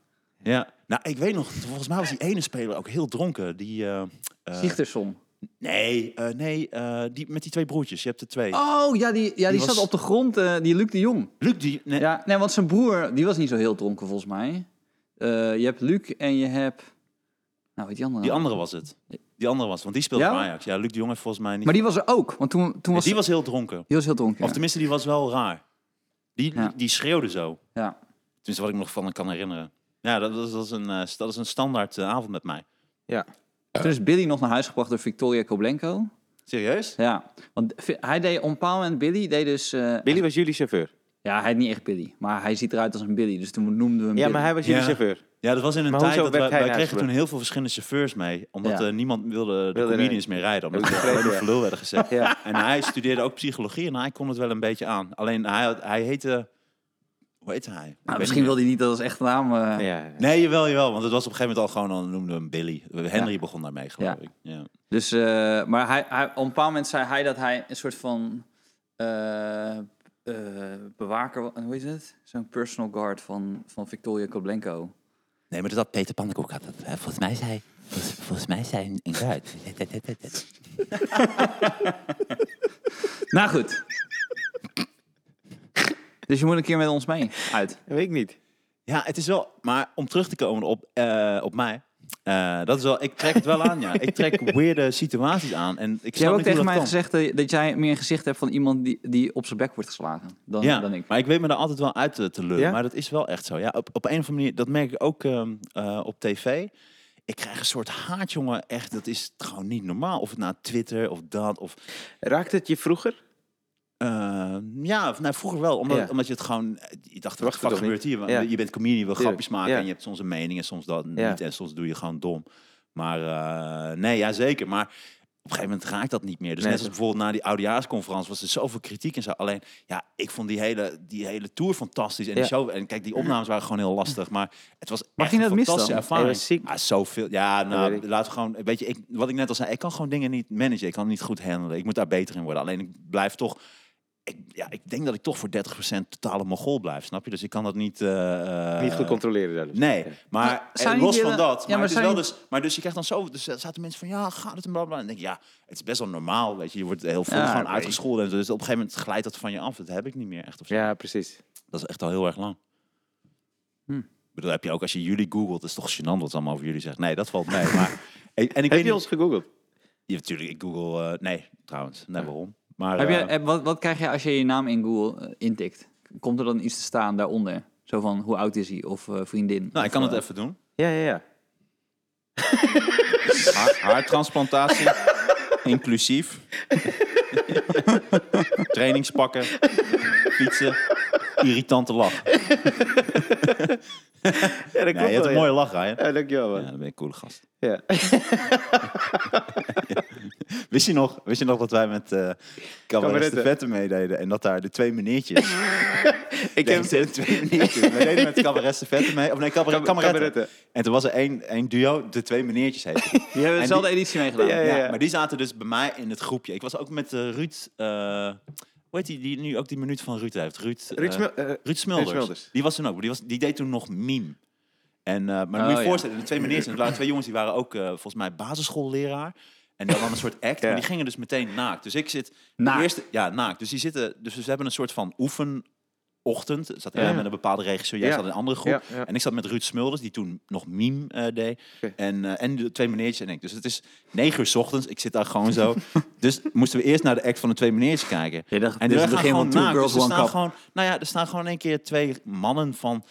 S1: Nou, ik weet nog, volgens mij was die ene speler ook heel dronken. Die, eh, eh,
S2: Zichtersom.
S1: Nee, eh, nee eh, die, met die twee broertjes. Je hebt er twee.
S2: Oh, ja, die, ja, die,
S1: was-
S2: zat op de grond, eh, die Luc de Jong.
S1: Luc, die... Nee,
S2: Ja, nee, want zijn broer, die was niet zo heel dronken volgens mij. Eh, je hebt Luc en je hebt... Nou, weet die andere
S1: Die
S2: nou?
S1: andere was het. Die andere was, want die speelde
S2: Ja?
S1: voor Ajax. Ja, Luc de Jong heeft volgens mij niet...
S2: Maar die was er ook, want toen, toen
S1: Ja,
S2: was...
S1: die was heel dronken.
S2: die was heel dronken.
S1: Of tenminste, die was wel raar. Die,
S2: Ja.
S1: die schreeuwde zo.
S2: ja.
S1: Tenminste, wat ik nog van me kan herinneren. Ja, dat was, dat was, een, eh, st- dat is een standaard eh, avond met mij.
S2: Ja. Toen is Billy nog naar huis gebracht door Victoria Koblenko.
S1: Serieus?
S2: Ja, want vi- hij deed op een bepaald moment Billy, deed dus... eh,
S3: Billy was jullie chauffeur.
S2: Ja, hij is niet echt Billy, maar hij ziet eruit als een Billy, dus toen noemden we hem
S3: Ja,
S2: Billy.
S3: maar hij was jullie
S1: Ja.
S3: chauffeur.
S1: Ja, dat was in een
S3: Maar
S1: tijd
S3: hoezo
S1: dat
S3: werd
S1: wij,
S3: hij
S1: wij
S3: naar
S1: kregen
S3: huis
S1: toen heel veel verschillende chauffeurs mee. Omdat
S2: Ja.
S1: eh, niemand wilde de
S3: Wilde er-
S1: comedians meer rijden. Omdat
S3: Heb
S1: ze
S3: ik begrepen,
S1: gewoon
S3: ja.
S1: flul werden gezet.
S3: Ja.
S1: En hij studeerde ook psychologie en hij kon het wel een beetje aan. Alleen hij, had- hij heette... Hoe heette hij? Ik weet
S2: Nou,
S1: niet
S2: misschien
S1: meer.
S2: wilde hij niet dat als echte naam... eh,
S3: Ja.
S1: Nee, jawel, jawel. Want het was op een gegeven moment al gewoon, dan noemden we hem Billy. Henry
S2: Ja.
S1: begon daarmee, geloof
S2: Ja.
S1: ik. Ja.
S2: Dus, eh, maar hij, hij, op een bepaald moment zei hij dat hij een soort van eh, eh, bewaker, wa- hoe is het? Zo'n personal guard van, van Victoria Koblenko.
S1: Nee, maar dat had Peter Pannenkoek had. volgens mij zei... Volgens mij zei een guard.
S2: Nou goed. dus je moet een keer met ons mee. Uit.
S3: Dat weet ik niet.
S1: Ja, het is wel... Maar om terug te komen op, eh, op mij... eh, dat is wel... Ik trek het wel aan, ja. Ik trek weirde situaties aan. En ik
S2: Jij hebt
S1: snap
S2: ook
S1: niet hoe
S2: tegen
S1: dat
S2: mij
S1: kan.
S2: gezegd eh, dat jij meer een gezicht hebt van iemand die, die op zijn bek wordt geslagen dan,
S1: Ja,
S2: dan ik.
S1: maar ik weet me daar altijd wel uit te, te lullen.
S3: Ja?
S1: Maar dat is wel echt zo. Ja, op, op een of andere manier, dat merk ik ook ehm, eh, op tv. Ik krijg een soort haat, jongen. Echt, dat is gewoon niet normaal. Of het nou Twitter of dat. Of,
S3: Raakte het je vroeger?
S1: eh, ja, nou, vroeger wel. Omdat,
S3: Ja.
S1: omdat je het gewoon... eh, Je dacht, wat
S3: Wacht
S1: de fuck
S3: toch
S1: gebeurt hier? Want
S3: Ja.
S1: Je bent comedian, je wil
S3: Tuurlijk,
S1: grapjes maken.
S3: ja.
S1: En je hebt soms een mening en soms dat
S3: Ja.
S1: niet. En soms doe je gewoon dom. Maar eh, nee, ja, zeker. Maar op een gegeven moment raakt dat niet meer. Dus
S3: Nee,
S1: net als bijvoorbeeld na die oudejaarsconferentie was er zoveel kritiek en zo. Alleen, ja, ik vond die hele, die hele tour fantastisch. En, die
S3: Ja.
S1: show, en kijk, die opnames waren gewoon heel lastig. Maar het was echt
S2: ging
S1: een
S2: dat mis
S1: fantastische
S2: dan?
S1: ervaring.
S3: Hij was ziek.
S1: Ah, zoveel. Ja,
S3: Dat
S1: nou,
S3: weet ik.
S1: laten we gewoon... Weet je, ik, wat ik net al zei, ik kan gewoon dingen niet managen. Ik kan het niet goed handelen. Ik moet daar beter in worden. Alleen, ik blijf toch... Ik, ja, ik denk dat ik toch voor 30% totale mogol blijf, snap je? Dus ik kan dat niet... eh,
S3: niet goed controleren daar dus.
S1: Nee, maar
S2: Maar zou
S1: eh,
S2: je
S1: los
S2: niet
S1: van
S2: willen-
S1: dat.
S2: Ja,
S1: maar,
S2: maar
S1: het is
S2: zou
S1: wel
S2: je-
S1: dus, maar dus je krijgt dan zo... Dus er zaten mensen van, ja, gaat het en blablabla. En dan denk ik, ja, het is best wel normaal, weet je. Je wordt heel veel
S2: Ja,
S1: gewoon
S2: weet
S1: uitgescholden. En zo, dus op een gegeven moment glijdt dat van je af. Dat heb ik niet meer echt. Of zo.
S3: Ja, precies.
S1: Dat is echt al heel erg lang.
S2: Hm.
S1: Ik bedoel, heb je ook als je jullie googelt, is toch gênant wat ze allemaal over jullie zegt. Nee, dat valt mee. Maar, en, en ik
S3: Heb
S1: weet
S3: je
S1: niet...
S3: ons gegoogeld?
S1: Ja, natuurlijk, ik google... eh, nee, trouwens. Nee, waarom? Maar,
S2: Heb
S1: eh,
S2: je, heb- wat, wat krijg je als je je naam in Google eh, intikt? Komt er dan iets te staan daaronder? Zo van, hoe oud is hij? Of eh, vriendin?
S1: nou, ik kan
S2: Of,
S1: het
S2: eh,
S1: even doen.
S3: Ja, ja, ja.
S1: Haar- haartransplantatie. inclusief. Trainingspakken. Fietsen. Irritante lach. Nee,
S3: Ja, dat
S1: je hebt een mooie lach, Ryan.
S3: Ja, dankjewel,
S1: Ja,
S3: man.
S1: dan ben je een coole gast.
S3: Ja.
S1: Wist je nog, wist je nog dat wij met eh Cabaret de
S3: Cabaretten.
S1: Vette meededen en dat daar de twee meneertjes...
S3: Ik
S1: Nee,
S3: heb...
S1: er zijn twee meneertjes. We deden met Cabaret de Vette mee. Of nee, Cabaret,
S3: Cam-
S1: Cabaretten.
S3: Cabaretten.
S1: En toen was er één, één duo, de twee meneertjes heette.
S2: Die hebben
S1: En
S2: dezelfde editie meegedaan.
S3: Ja,
S1: ja, maar die zaten dus bij mij in het groepje. Ik was ook met eh, Ruud... eh hoe heet die, die nu ook die minuut van Ruud heeft? Ruud,
S3: Ruud
S1: eh,
S3: Smil- eh,
S1: Ruud Smulders.
S3: Ruud Smulders.
S1: Die was toen ook. maar Die, was, die deed toen nog meme. En, eh, maar
S2: Oh,
S1: moet je
S2: ja.
S1: voorstellen, de twee meneers, en er waren twee jongens die waren ook eh, volgens mij basisschoolleraar. En die hadden een soort act, maar die gingen dus meteen naakt. Dus ik zit...
S2: Naakt?
S1: Eerst, ja, naakt. Dus die zitten... Dus we hebben een soort van oefenochtend. Zat jij
S3: Ja.
S1: met een bepaalde regisseur, jij
S3: Ja.
S1: zat in een andere groep.
S3: Ja, ja.
S1: En ik zat met Ruud Smulders, die toen nog meme eh, deed.
S3: Oké.
S1: En, eh, en de twee meneertjes en ik. Dus het is negen uur 's ochtends, ik zit daar gewoon zo. dus moesten we eerst naar de act van de twee meneertjes kijken.
S2: Je dacht,
S1: En
S2: dit
S1: die
S2: is het
S1: gaan
S2: begin
S1: gewoon
S2: van Two
S1: naakt.
S2: Girls,
S1: dus er
S2: One
S1: staan
S2: Cup.
S1: gewoon, nou ja, er staan gewoon in één keer twee mannen van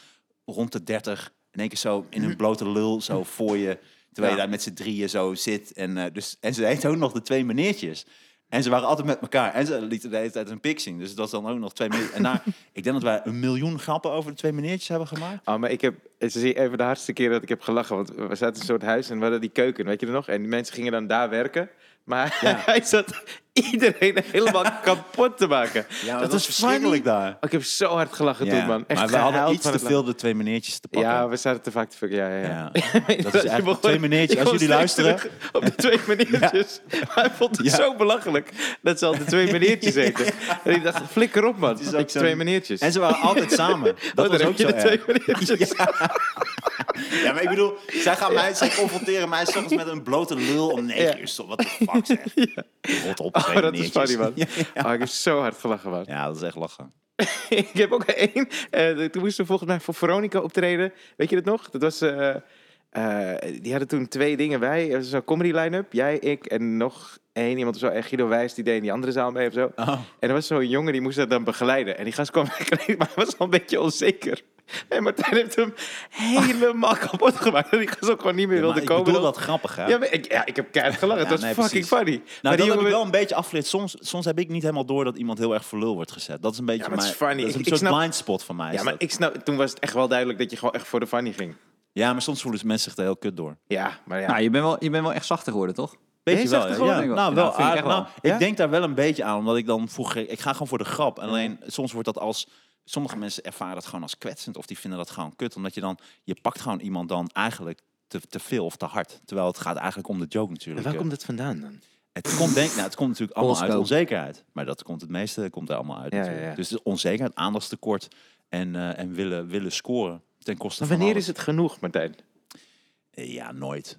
S1: rond de 30. In één keer zo in hun blote lul zo voor je. Terwijl je
S2: Mhm. Ja.
S1: daar met z'n drieën zo zit. En, eh, dus, en ze heet ook nog de twee meneertjes. En ze waren altijd met elkaar. En ze lieten de hele tijd een pik zien. Dus dat was dan ook nog twee meneertjes. En daar, ik denk dat wij een miljoen grappen over de twee meneertjes hebben gemaakt.
S3: Oh, maar ik heb, het is even de hardste keer dat ik heb gelachen, want we zaten in een soort huis en we hadden die keuken, weet je er nog? En die mensen gingen dan daar werken, maar
S1: Ja.
S3: hij zat iedereen helemaal kapot te maken.
S1: Ja,
S3: dat
S1: was
S3: was
S1: verschrikkelijk daar.
S3: Oh, ik heb zo hard gelachen
S1: Ja,
S3: toen, man. Echt
S1: maar we hadden
S3: gehuild
S1: iets
S3: van
S1: te
S3: het lachen.
S1: veel de twee meneertjes te pakken.
S3: Ja, we zaten te vaak te veel. Ja, ja, ja.
S1: Ja.
S3: Je
S1: Dat is echt
S3: begon-
S1: twee meneertjes.
S3: je
S1: Als
S3: kwam
S1: jullie
S3: steeds
S1: luisteren-
S3: terug Op de twee meneertjes. Maar hij vond het
S1: Ja.
S3: zo belachelijk dat ze al de twee meneertjes eten. En ik dacht, flikker op, man.
S1: is
S3: Ik
S1: ook zo'n-
S3: twee meneertjes.
S1: En ze waren altijd samen. Dat
S3: Oh, daar
S1: was
S3: heb
S1: ook
S3: je
S1: zo
S3: de twee
S1: erg.
S3: meneertjes.
S1: Ja, maar ik bedoel, zij gaan mij, zij confronteren mij soms met een blote lul om negen
S3: Ja.
S1: uur. stop. Wat de fuck zeg. Rot op,
S3: Oh, dat is
S1: meneertjes.
S3: funny, man.
S1: Ja,
S3: Oh, ik heb zo hard gelachen, man.
S1: Ja, dat is echt lachen.
S3: ik heb ook één. eh, toen moesten we volgens mij voor Veronica optreden. Weet je dat nog? Dat was. eh, eh, die hadden toen twee dingen. Wij, er was zo'n comedy line-up. Jij, ik en nog één iemand of zo. En Guido Wijs, die deed in die andere zaal mee of zo. En er was zo'n jongen, die moest dat dan begeleiden. En die gast kwam eigenlijk, maar hij was al een beetje onzeker. En Martijn heeft hem helemaal kapot gemaakt. En die gast ook gewoon niet meer
S1: Ja, maar
S3: wilde
S1: ik
S3: komen.
S1: bedoel
S3: dan.
S1: dat grappig, hè?
S3: Ja, maar ik, ja, ik heb keihard gelachen.
S1: Ja,
S3: dat was
S1: nee,
S3: fucking
S1: precies.
S3: funny.
S1: Nou,
S3: maar
S1: dat
S3: die
S1: heb
S3: jongen...
S1: ik wel een beetje afgeleerd. Soms, soms heb ik niet helemaal door dat iemand heel erg voor lul wordt gezet. Dat is een beetje
S3: maar het is
S1: mijn-
S3: funny.
S1: Dat is een
S3: Ik- ik
S1: soort
S3: snap-
S1: blind spot van mij. is
S3: Ja, maar
S1: dat.
S3: ik snap, toen was het echt wel duidelijk dat je gewoon echt voor de funny ging.
S1: ja, maar soms voelen mensen zich er heel kut door.
S3: Ja, maar ja.
S2: Nou, je bent, wel, je bent wel echt zachter geworden, toch?
S1: Weet
S3: Ja,
S1: je wel,
S3: je zegt
S1: ja.
S3: het gewoon,
S1: Ja,
S2: denk ik wel.
S1: Nou,
S2: Ja,
S1: wel,
S2: vind ik
S1: aardig.
S2: echt wel.
S1: Nou,
S3: Ja?
S1: ik denk daar wel een beetje aan, omdat ik dan vroeger... Ik ga gewoon voor de grap. En alleen, soms wordt dat als... Sommige mensen ervaren dat gewoon als kwetsend of die vinden dat gewoon kut. Omdat je dan... Je pakt gewoon iemand dan eigenlijk te, te veel of te hard. Terwijl het gaat eigenlijk om de joke natuurlijk.
S3: waar komt dat vandaan dan?
S1: Het komt, denk, nou, het komt natuurlijk allemaal uit
S2: Oldschool.
S1: onzekerheid. Maar dat komt het meeste komt er allemaal uit.
S3: Ja,
S1: natuurlijk.
S3: ja, ja.
S1: Dus het is onzekerheid, aandachtstekort en, eh, en willen, willen scoren ten koste van
S3: wanneer
S1: alles.
S3: is het genoeg, Martijn?
S1: Eh, Ja, nooit.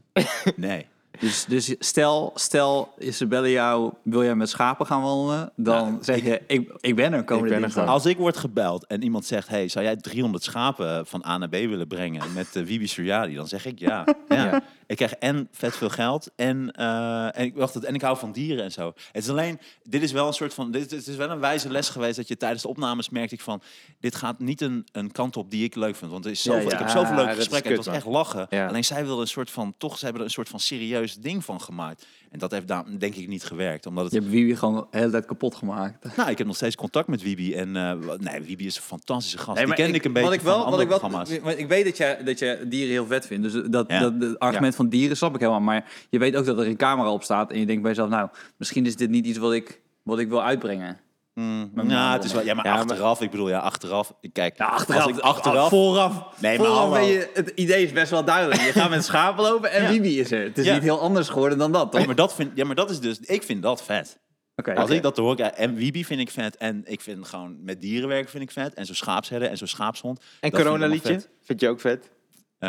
S1: Nee.
S2: Dus, dus stel, stel Isabelle jou, wil jij met schapen gaan wandelen? Dan zeg je, ik, ik ben er komende
S3: ben er
S2: dinsdag.
S3: gewoon.
S1: Als ik word gebeld en iemand zegt... hey, zou jij 300 schapen van A naar B willen brengen met eh, Wibi Suryadi? Dan zeg ik ja. ja.
S3: Ja.
S1: Ik krijg en vet veel geld en, eh, en, ik, wacht, het- en ik hou van dieren en zo. Het is alleen, dit is wel een soort van... Dit, dit is wel een wijze les geweest dat je tijdens de opnames merkte ik van... dit gaat niet een, een kant op die ik leuk vind. Want er is zoveel,
S2: Ja, ja.
S1: ik heb zoveel
S3: Ah,
S1: leuke
S3: dat is
S1: gesprekken.
S3: kut,
S1: het was echt lachen.
S3: Ja.
S1: Alleen zij wilden een soort van... toch, ze hebben er een soort van serieus ding van gemaakt. En dat heeft daar denk ik niet gewerkt. Omdat het
S2: Je hebt Wiwi gewoon de hele tijd kapot gemaakt.
S1: nou, ik heb nog steeds contact met Wibi. En eh, wa- nee, Wibi is een fantastische gast.
S2: Nee,
S1: die
S2: maar
S1: kende ik, een beetje
S2: wat ik
S1: van
S2: wel, wat
S1: andere
S2: ik wel,
S1: programma's.
S2: want Ik weet dat jij, dat jij dieren heel vet vindt. Dus dat,
S1: Ja.
S2: dat, dat argument van dieren snap ik helemaal. Maar je weet ook dat er een camera op staat. En je denkt bij jezelf, nou, misschien is dit niet iets wat ik, wat ik wil uitbrengen.
S1: Mm, nou, het is wel, ja, maar
S3: Ja, maar-
S1: achteraf, ik bedoel, ja, achteraf. Kijk,
S2: Ja, achteraf. Ah,
S1: als ik achteraf...
S2: Vooraf.
S1: Nee, maar
S2: vooraf
S1: hallo.
S2: ben je, het idee is best wel duidelijk. Je gaat met schapen lopen en
S1: Ja.
S2: Wibi is er. Het is
S1: Ja.
S2: niet heel anders geworden dan dat, toch?
S1: Ja, maar dat vind, ja, maar dat is dus... Ik vind dat vet.
S2: Oké.
S1: Als ik dat hoor... kijk, En Wibi vind ik vet. En ik vind gewoon met dieren werken vind ik vet. En zo'n schaapsherder en zo'n schaapshond.
S3: En
S1: dat vind ik allemaal
S3: coronaliedje?
S1: vet.
S3: Vind, je ook vet?
S1: Eh,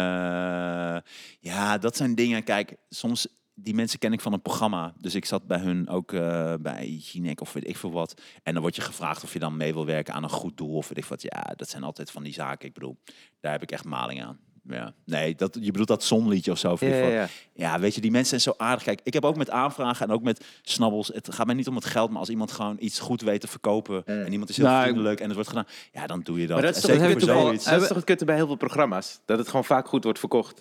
S1: ja, dat zijn dingen. Kijk, soms die mensen ken ik van een programma. Dus ik zat bij hun ook eh, bij Ginek of weet ik veel wat. En dan word je gevraagd of je dan mee wil werken aan een goed doel of weet ik wat. Ja, dat zijn altijd van die zaken. Ik bedoel, daar heb ik echt maling aan. Ja. Nee, dat, je bedoelt dat zonliedje of zo. of in ieder
S3: Ja, ja,
S1: geval. ja, weet je, die mensen zijn zo aardig. Kijk, ik heb ook met aanvragen en ook met snabbels. Het gaat mij niet om het geld, maar als iemand gewoon iets goed weet te verkopen. En iemand is heel
S2: Nou, ik-
S1: vriendelijk en het wordt gedaan. Ja, dan doe je dat.
S3: Maar dat is
S1: En
S3: toch
S1: zeker
S3: het
S2: hebben
S1: voor
S2: we
S3: kutte
S1: zoiets.
S2: toch al-
S3: bij- dat is toch het kutte bij heel veel programma's? Dat het gewoon vaak goed wordt verkocht.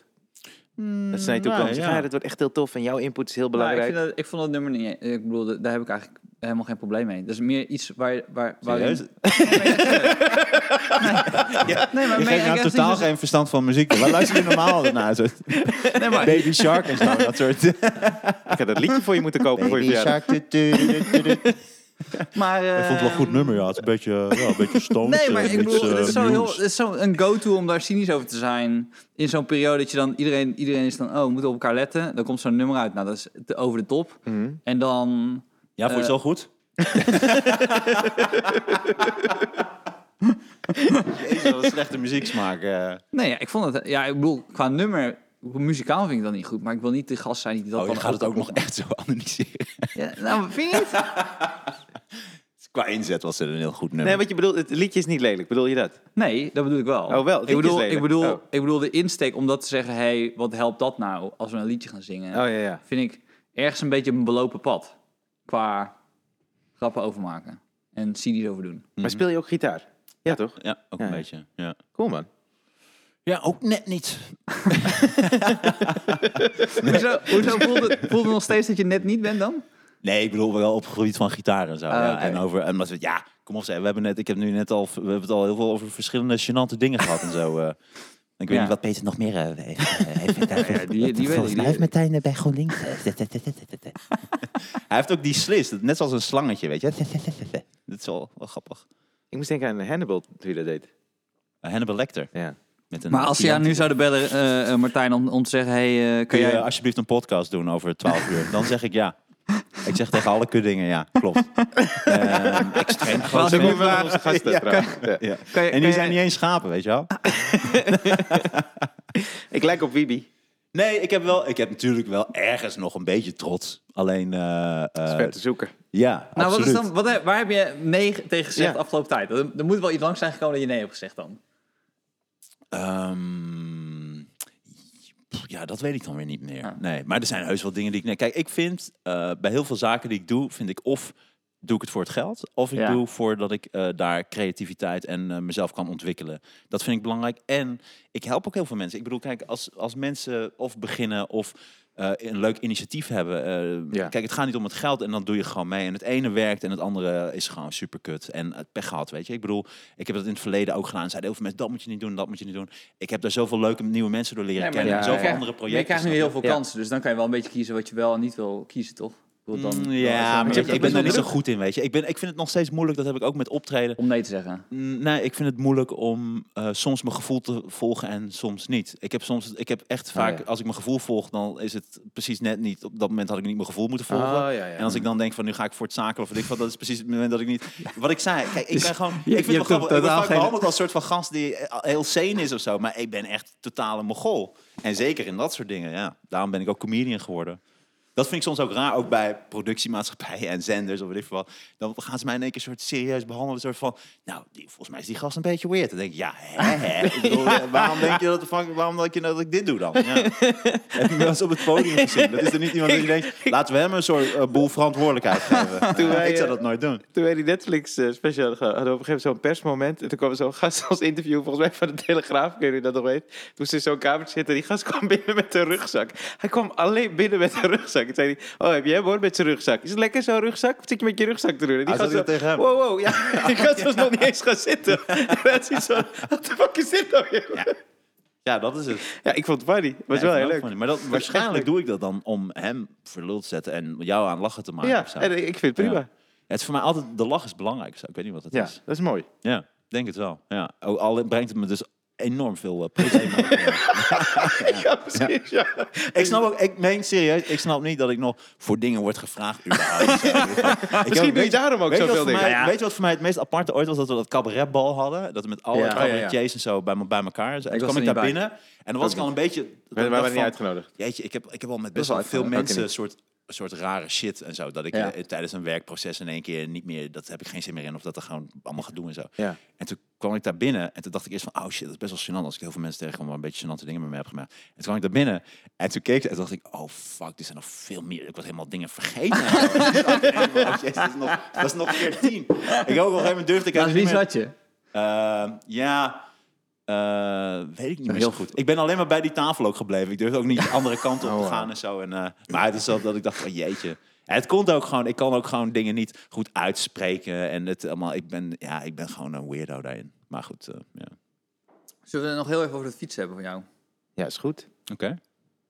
S3: dat ze naar je
S1: nou,
S3: toe komen en zeggen,
S1: ja.
S3: ja, dat wordt echt heel tof en jouw input is heel
S2: Mm, Nou, ik,
S3: belangrijk.
S2: vind dat, ik vond dat nummer niet. Ik bedoel, dat- daar heb ik eigenlijk helemaal geen probleem mee. Dat is meer iets waar. waar, waar
S1: Serieus?
S2: Nee, maar
S1: Je
S2: meen-
S1: geeft nou
S2: ik echt
S1: totaal
S2: niet zo-
S1: geen verstand van muziek. Waar luister je normaal naar? Zo,
S2: Nee, maar,
S1: Baby Shark en zo, dat soort.
S3: Ik had dat liedje voor je moeten kopen voor je verjaardag.
S1: du- du- du- du- du- du.
S2: maar,
S1: Ik vond het wel een goed nummer, ja. Het is een beetje, ja, een beetje stoned,
S2: Nee, maar
S1: eh,
S2: ik
S1: mits,
S2: bedoel,
S1: eh,
S2: het is zo heel,
S1: Muse.
S2: het is zo een go-to om daar cynisch over te zijn. In zo'n periode dat je dan iedereen, iedereen is dan, oh, we moeten op elkaar letten. Dan komt zo'n nummer uit. Nou, dat is te- over de top.
S1: Mhm.
S2: En dan,
S1: Ja,
S2: Eh.
S1: vond je het wel goed? Jezus, wat een slechte muzieksmaak. eh.
S2: nee, ja, ik vond het, ja, ik bedoel, qua nummer, muzikaal vind ik dat niet goed. Maar ik wil niet de gast zijn die dat
S1: Oh, je
S2: dan
S1: gaat het ook nog echt zo analyseren.
S2: Ja, nou, vind je niet?
S1: Qua inzet was het een heel goed nummer.
S3: Nee, wat je bedoelt, het liedje is niet lelijk. Bedoel je dat?
S2: Nee, dat bedoel ik wel.
S3: Oh, wel, dit
S2: Ik bedoel,
S3: is lelijk.
S2: ik bedoel,
S3: Oh.
S2: ik bedoel de insteek om dat te zeggen, hey, wat helpt dat nou als we een liedje gaan zingen?
S3: Oh ja, ja.
S2: Vind ik ergens een beetje een belopen pad. Qua grappen overmaken en cynisch over doen.
S3: Maar speel je ook gitaar? Mhm. Ja, toch?
S1: Ja, ook een
S3: Ja.
S1: beetje. Ja.
S3: Cool man.
S1: ja, ook net niet.
S2: Hoezo, hoezo voelt, het, voelt het nog steeds dat je net niet bent dan?
S1: Nee, ik bedoel wel op het gebied van gitaar en zo. ja.
S2: oké.
S1: En over, en wat we, ja, kom op, zeg, we hebben net, ik heb nu net al, we hebben het al heel veel over verschillende gênante dingen gehad en zo. eh. Ik weet
S2: Ja.
S1: niet wat Peter nog meer eh, heeft. eh, heeft gedaan.
S2: die weet ik,
S4: Volgens
S2: die-
S4: mij heeft Martijn eh, bij GroenLinks.
S1: Hij heeft ook die slis, dat- net zoals een slangetje, weet je. Dat is wel, wel grappig.
S3: Ik moest denken aan Hannibal toen je dat deed.
S1: Eh, Hannibal Lecter.
S3: Ja.
S1: Met een
S2: Maar als je
S1: gigantische-
S2: aan nu zouden bellen, eh, eh, Martijn, om, om te zeggen, hey, eh, kun
S1: Kun je
S2: jij...
S1: alsjeblieft een podcast doen over 12 uur? Dan zeg ik ja. Ik zeg tegen alle kutdingen, ja, klopt. Ehm extreem groot.
S3: Dat is ook
S1: fan.
S3: een van onze gasten
S2: Ja,
S3: trouwens. Ja.
S1: Ja.
S2: Kan je-
S1: En
S2: kan
S1: die
S2: je-
S1: zijn niet eens schapen, weet je wel?
S3: Ik lijk op Wibi.
S1: Nee, ik heb, wel, ik heb natuurlijk wel ergens nog een beetje trots. Alleen, eh, eh,
S3: Dat is ver te zoeken.
S1: ja,
S2: Nou, wat is
S1: absoluut.
S2: dan, wat, heb- waar heb je nee tegen gezegd
S3: Ja.
S2: de afgelopen tijd? Er, er moet wel iets langs zijn gekomen dat je nee hebt gezegd dan.
S1: Ehm, pff, ja, dat weet ik dan weer niet meer.
S2: Ah.
S1: Nee, maar er zijn heus wel dingen die ik... Nee, kijk, ik vind eh, bij heel veel zaken die ik doe, vind ik of doe ik het voor het geld... of ik
S2: Ja.
S1: doe voordat ik eh, daar creativiteit en eh, mezelf kan ontwikkelen. Dat vind ik belangrijk. En ik help ook heel veel mensen. Ik bedoel, kijk, als, als mensen of beginnen of... eh, een leuk initiatief hebben. eh,
S3: Ja.
S1: Kijk, het gaat niet om het geld en dan doe je gewoon mee. En het ene werkt en het andere is gewoon superkut. En het pech gehad, weet je. Ik bedoel, ik heb dat in het verleden ook gedaan. Zeiden heel veel mensen, dat moet je niet doen, dat moet je niet doen. Ik heb daar zoveel leuke nieuwe mensen door leren kennen.
S3: ja,
S1: en
S3: je
S1: zoveel
S3: krijgt-
S1: andere
S2: maar Je
S1: projecten.
S2: krijgt nu
S1: snap
S2: heel veel
S3: Ja.
S2: kansen, dus dan kan je wel een beetje kiezen wat je wel en niet wil kiezen, toch? Ik bedoel, Dan,
S1: je.
S2: dan
S1: Mm,
S2: is dat
S1: Ja,
S2: een
S1: maar
S2: beetje-
S1: ik ben er niet zo goed in, weet je. Ik, ben, ik vind het nog steeds moeilijk, dat heb ik ook met optreden.
S2: Om nee te zeggen.
S1: Mm, Nee, ik vind het moeilijk om eh, soms mijn gevoel te volgen en soms niet. Ik heb soms, ik heb echt vaak,
S3: Oh, ja.
S1: als ik mijn gevoel volg, dan is het precies net niet. Op dat moment had ik niet mijn gevoel moeten volgen.
S3: Ah, ja, ja.
S1: En als ik dan denk van nu ga ik voor het zaken of weet ik wat, dat is precies het moment dat ik niet. Wat ik zei, kijk, ik
S3: Dus
S1: ben gewoon.
S2: je
S1: ik vind
S2: hebt
S1: het wel grappig. Ik word
S2: totaal
S1: vaak
S2: geen-
S1: behandeld als soort van gast die eh, heel sane is of zo, maar ik ben echt totale mogol. En zeker in dat soort dingen, ja. Daarom ben ik ook comedian geworden. Dat vind ik soms ook raar, ook bij productiemaatschappijen en zenders of weet ik veel wat. Dan gaan ze mij in één keer soort serieus behandelen. Een soort van, nou, die, volgens mij is die gast een beetje weird. Dan denk ik, ja, hè, hè. Ik bedoel, eh, waarom denk je dat, de fuck- waarom denk je nou dat ik dit doe dan? Ja. Heb je wel eens op het podium gezien? Dat is er niet iemand die denkt, laten we hem een soort eh, boel verantwoordelijkheid geven.
S3: Toen
S1: Eh,
S3: wij,
S1: ik zou
S3: eh,
S1: dat nooit doen.
S3: Toen wij die Netflix eh, special hadden, gehad, hadden we op een gegeven moment zo'n persmoment. En toen kwam zo'n gast als interview, volgens mij van de Telegraaf, ik weet niet of je dat nog weet. Toen ze in zo'n kamertje zitten, die gast kwam binnen met een rugzak. Hij kwam alleen binnen met een rugzak. En zei hij, oh heb jij hem hoor, met zijn rugzak. Is het lekker zo'n rugzak? Wat zit je met je rugzak te doen? En die
S1: Ah,
S3: gast
S1: zat hij dat
S3: zo,
S1: tegen hem?
S3: Wow, wow, ja. Die gast was nog niet eens gaan zitten. En hij zei zo, wat de fuck is dit nou joh? Ja.
S1: Ja, dat is het.
S3: ik vond het funny. Was
S1: Ja,
S3: wel
S1: ik vind
S3: heel leuk.
S1: het ook funny. Maar dat, waarschijnlijk doe ik dat dan om hem verluld te zetten en jou aan lachen te maken.
S3: Ja,
S1: of zo.
S3: en ik vind het prima.
S1: Ja. Het is voor mij altijd, de lach is belangrijk. of zo. Ik weet niet wat het
S3: Ja,
S1: is.
S3: dat is mooi.
S1: Ja, denk het wel. Ja. Ook al brengt het me dus enorm veel eh, plezier. mee. Ja.
S3: Ja, precies, ja.
S1: ik snap ook, ik meen serieus, ik snap niet dat ik nog voor dingen word gevraagd. überhaupt. Ik heb-
S3: Misschien doe je
S1: weet-
S3: daarom ook
S1: weet je wat
S3: zoveel
S1: voor
S3: dingen.
S1: Mij,
S2: Ja, ja.
S1: Weet je wat voor mij het meest aparte ooit was? Dat we dat cabaretbal hadden. Dat we met alle
S2: Ja.
S1: cabaretiers
S3: Oh, ja,
S1: en zo bij, me- bij elkaar. En
S2: was
S1: toen kwam
S2: er
S1: ik
S2: niet
S1: daar
S2: bij.
S1: binnen. En dan was ik al een beetje... dat
S3: wij
S1: ik
S3: waren
S1: dacht
S3: niet
S1: van,
S3: uitgenodigd.
S1: Jeetje, ik heb, ik heb al met best
S2: wel
S1: wel veel
S2: uitgenodigd,
S1: mensen
S3: ook
S1: een soort, een soort rare shit en zo. Dat ik
S2: Ja.
S1: eh, tijdens een werkproces in één keer niet meer... Dat heb ik geen zin meer in. Of dat er gewoon allemaal gaat doen en zo.
S3: Ja.
S1: En toen kwam ik daar binnen en toen dacht ik eerst van, oh shit, dat is best wel gênant als ik heel veel mensen tegenkom waar een beetje gênante dingen met me heb gemaakt. En toen kwam ik daar binnen en toen keek ze en toen dacht ik, oh fuck, dit zijn nog veel meer. Ik was helemaal dingen vergeten. en zo. Ik dacht helemaal, oh, jezus, dat is nog- dat is nog keer tien. Ik heb ook op een gegeven moment durfde ik
S2: Naast wie
S1: eigenlijk niet
S2: zat je?
S1: meer- Eh, ja, eh, weet ik niet meer
S2: Heel
S1: zo goed. Ik ben alleen maar bij die tafel ook gebleven. Ik durfde ook niet de andere kant op
S3: Oh,
S1: te
S3: wow.
S1: gaan en zo. En, eh, maar het is wel dat ik dacht van, jeetje. En het komt ook gewoon, ik kan ook gewoon dingen niet goed uitspreken. En het allemaal, ik ben, ja, ik ben gewoon een weirdo daarin. Maar goed, eh, ja.
S2: Zullen we het nog heel even over het fietsen hebben van jou?
S3: Ja, is goed.
S1: Oké. Oh,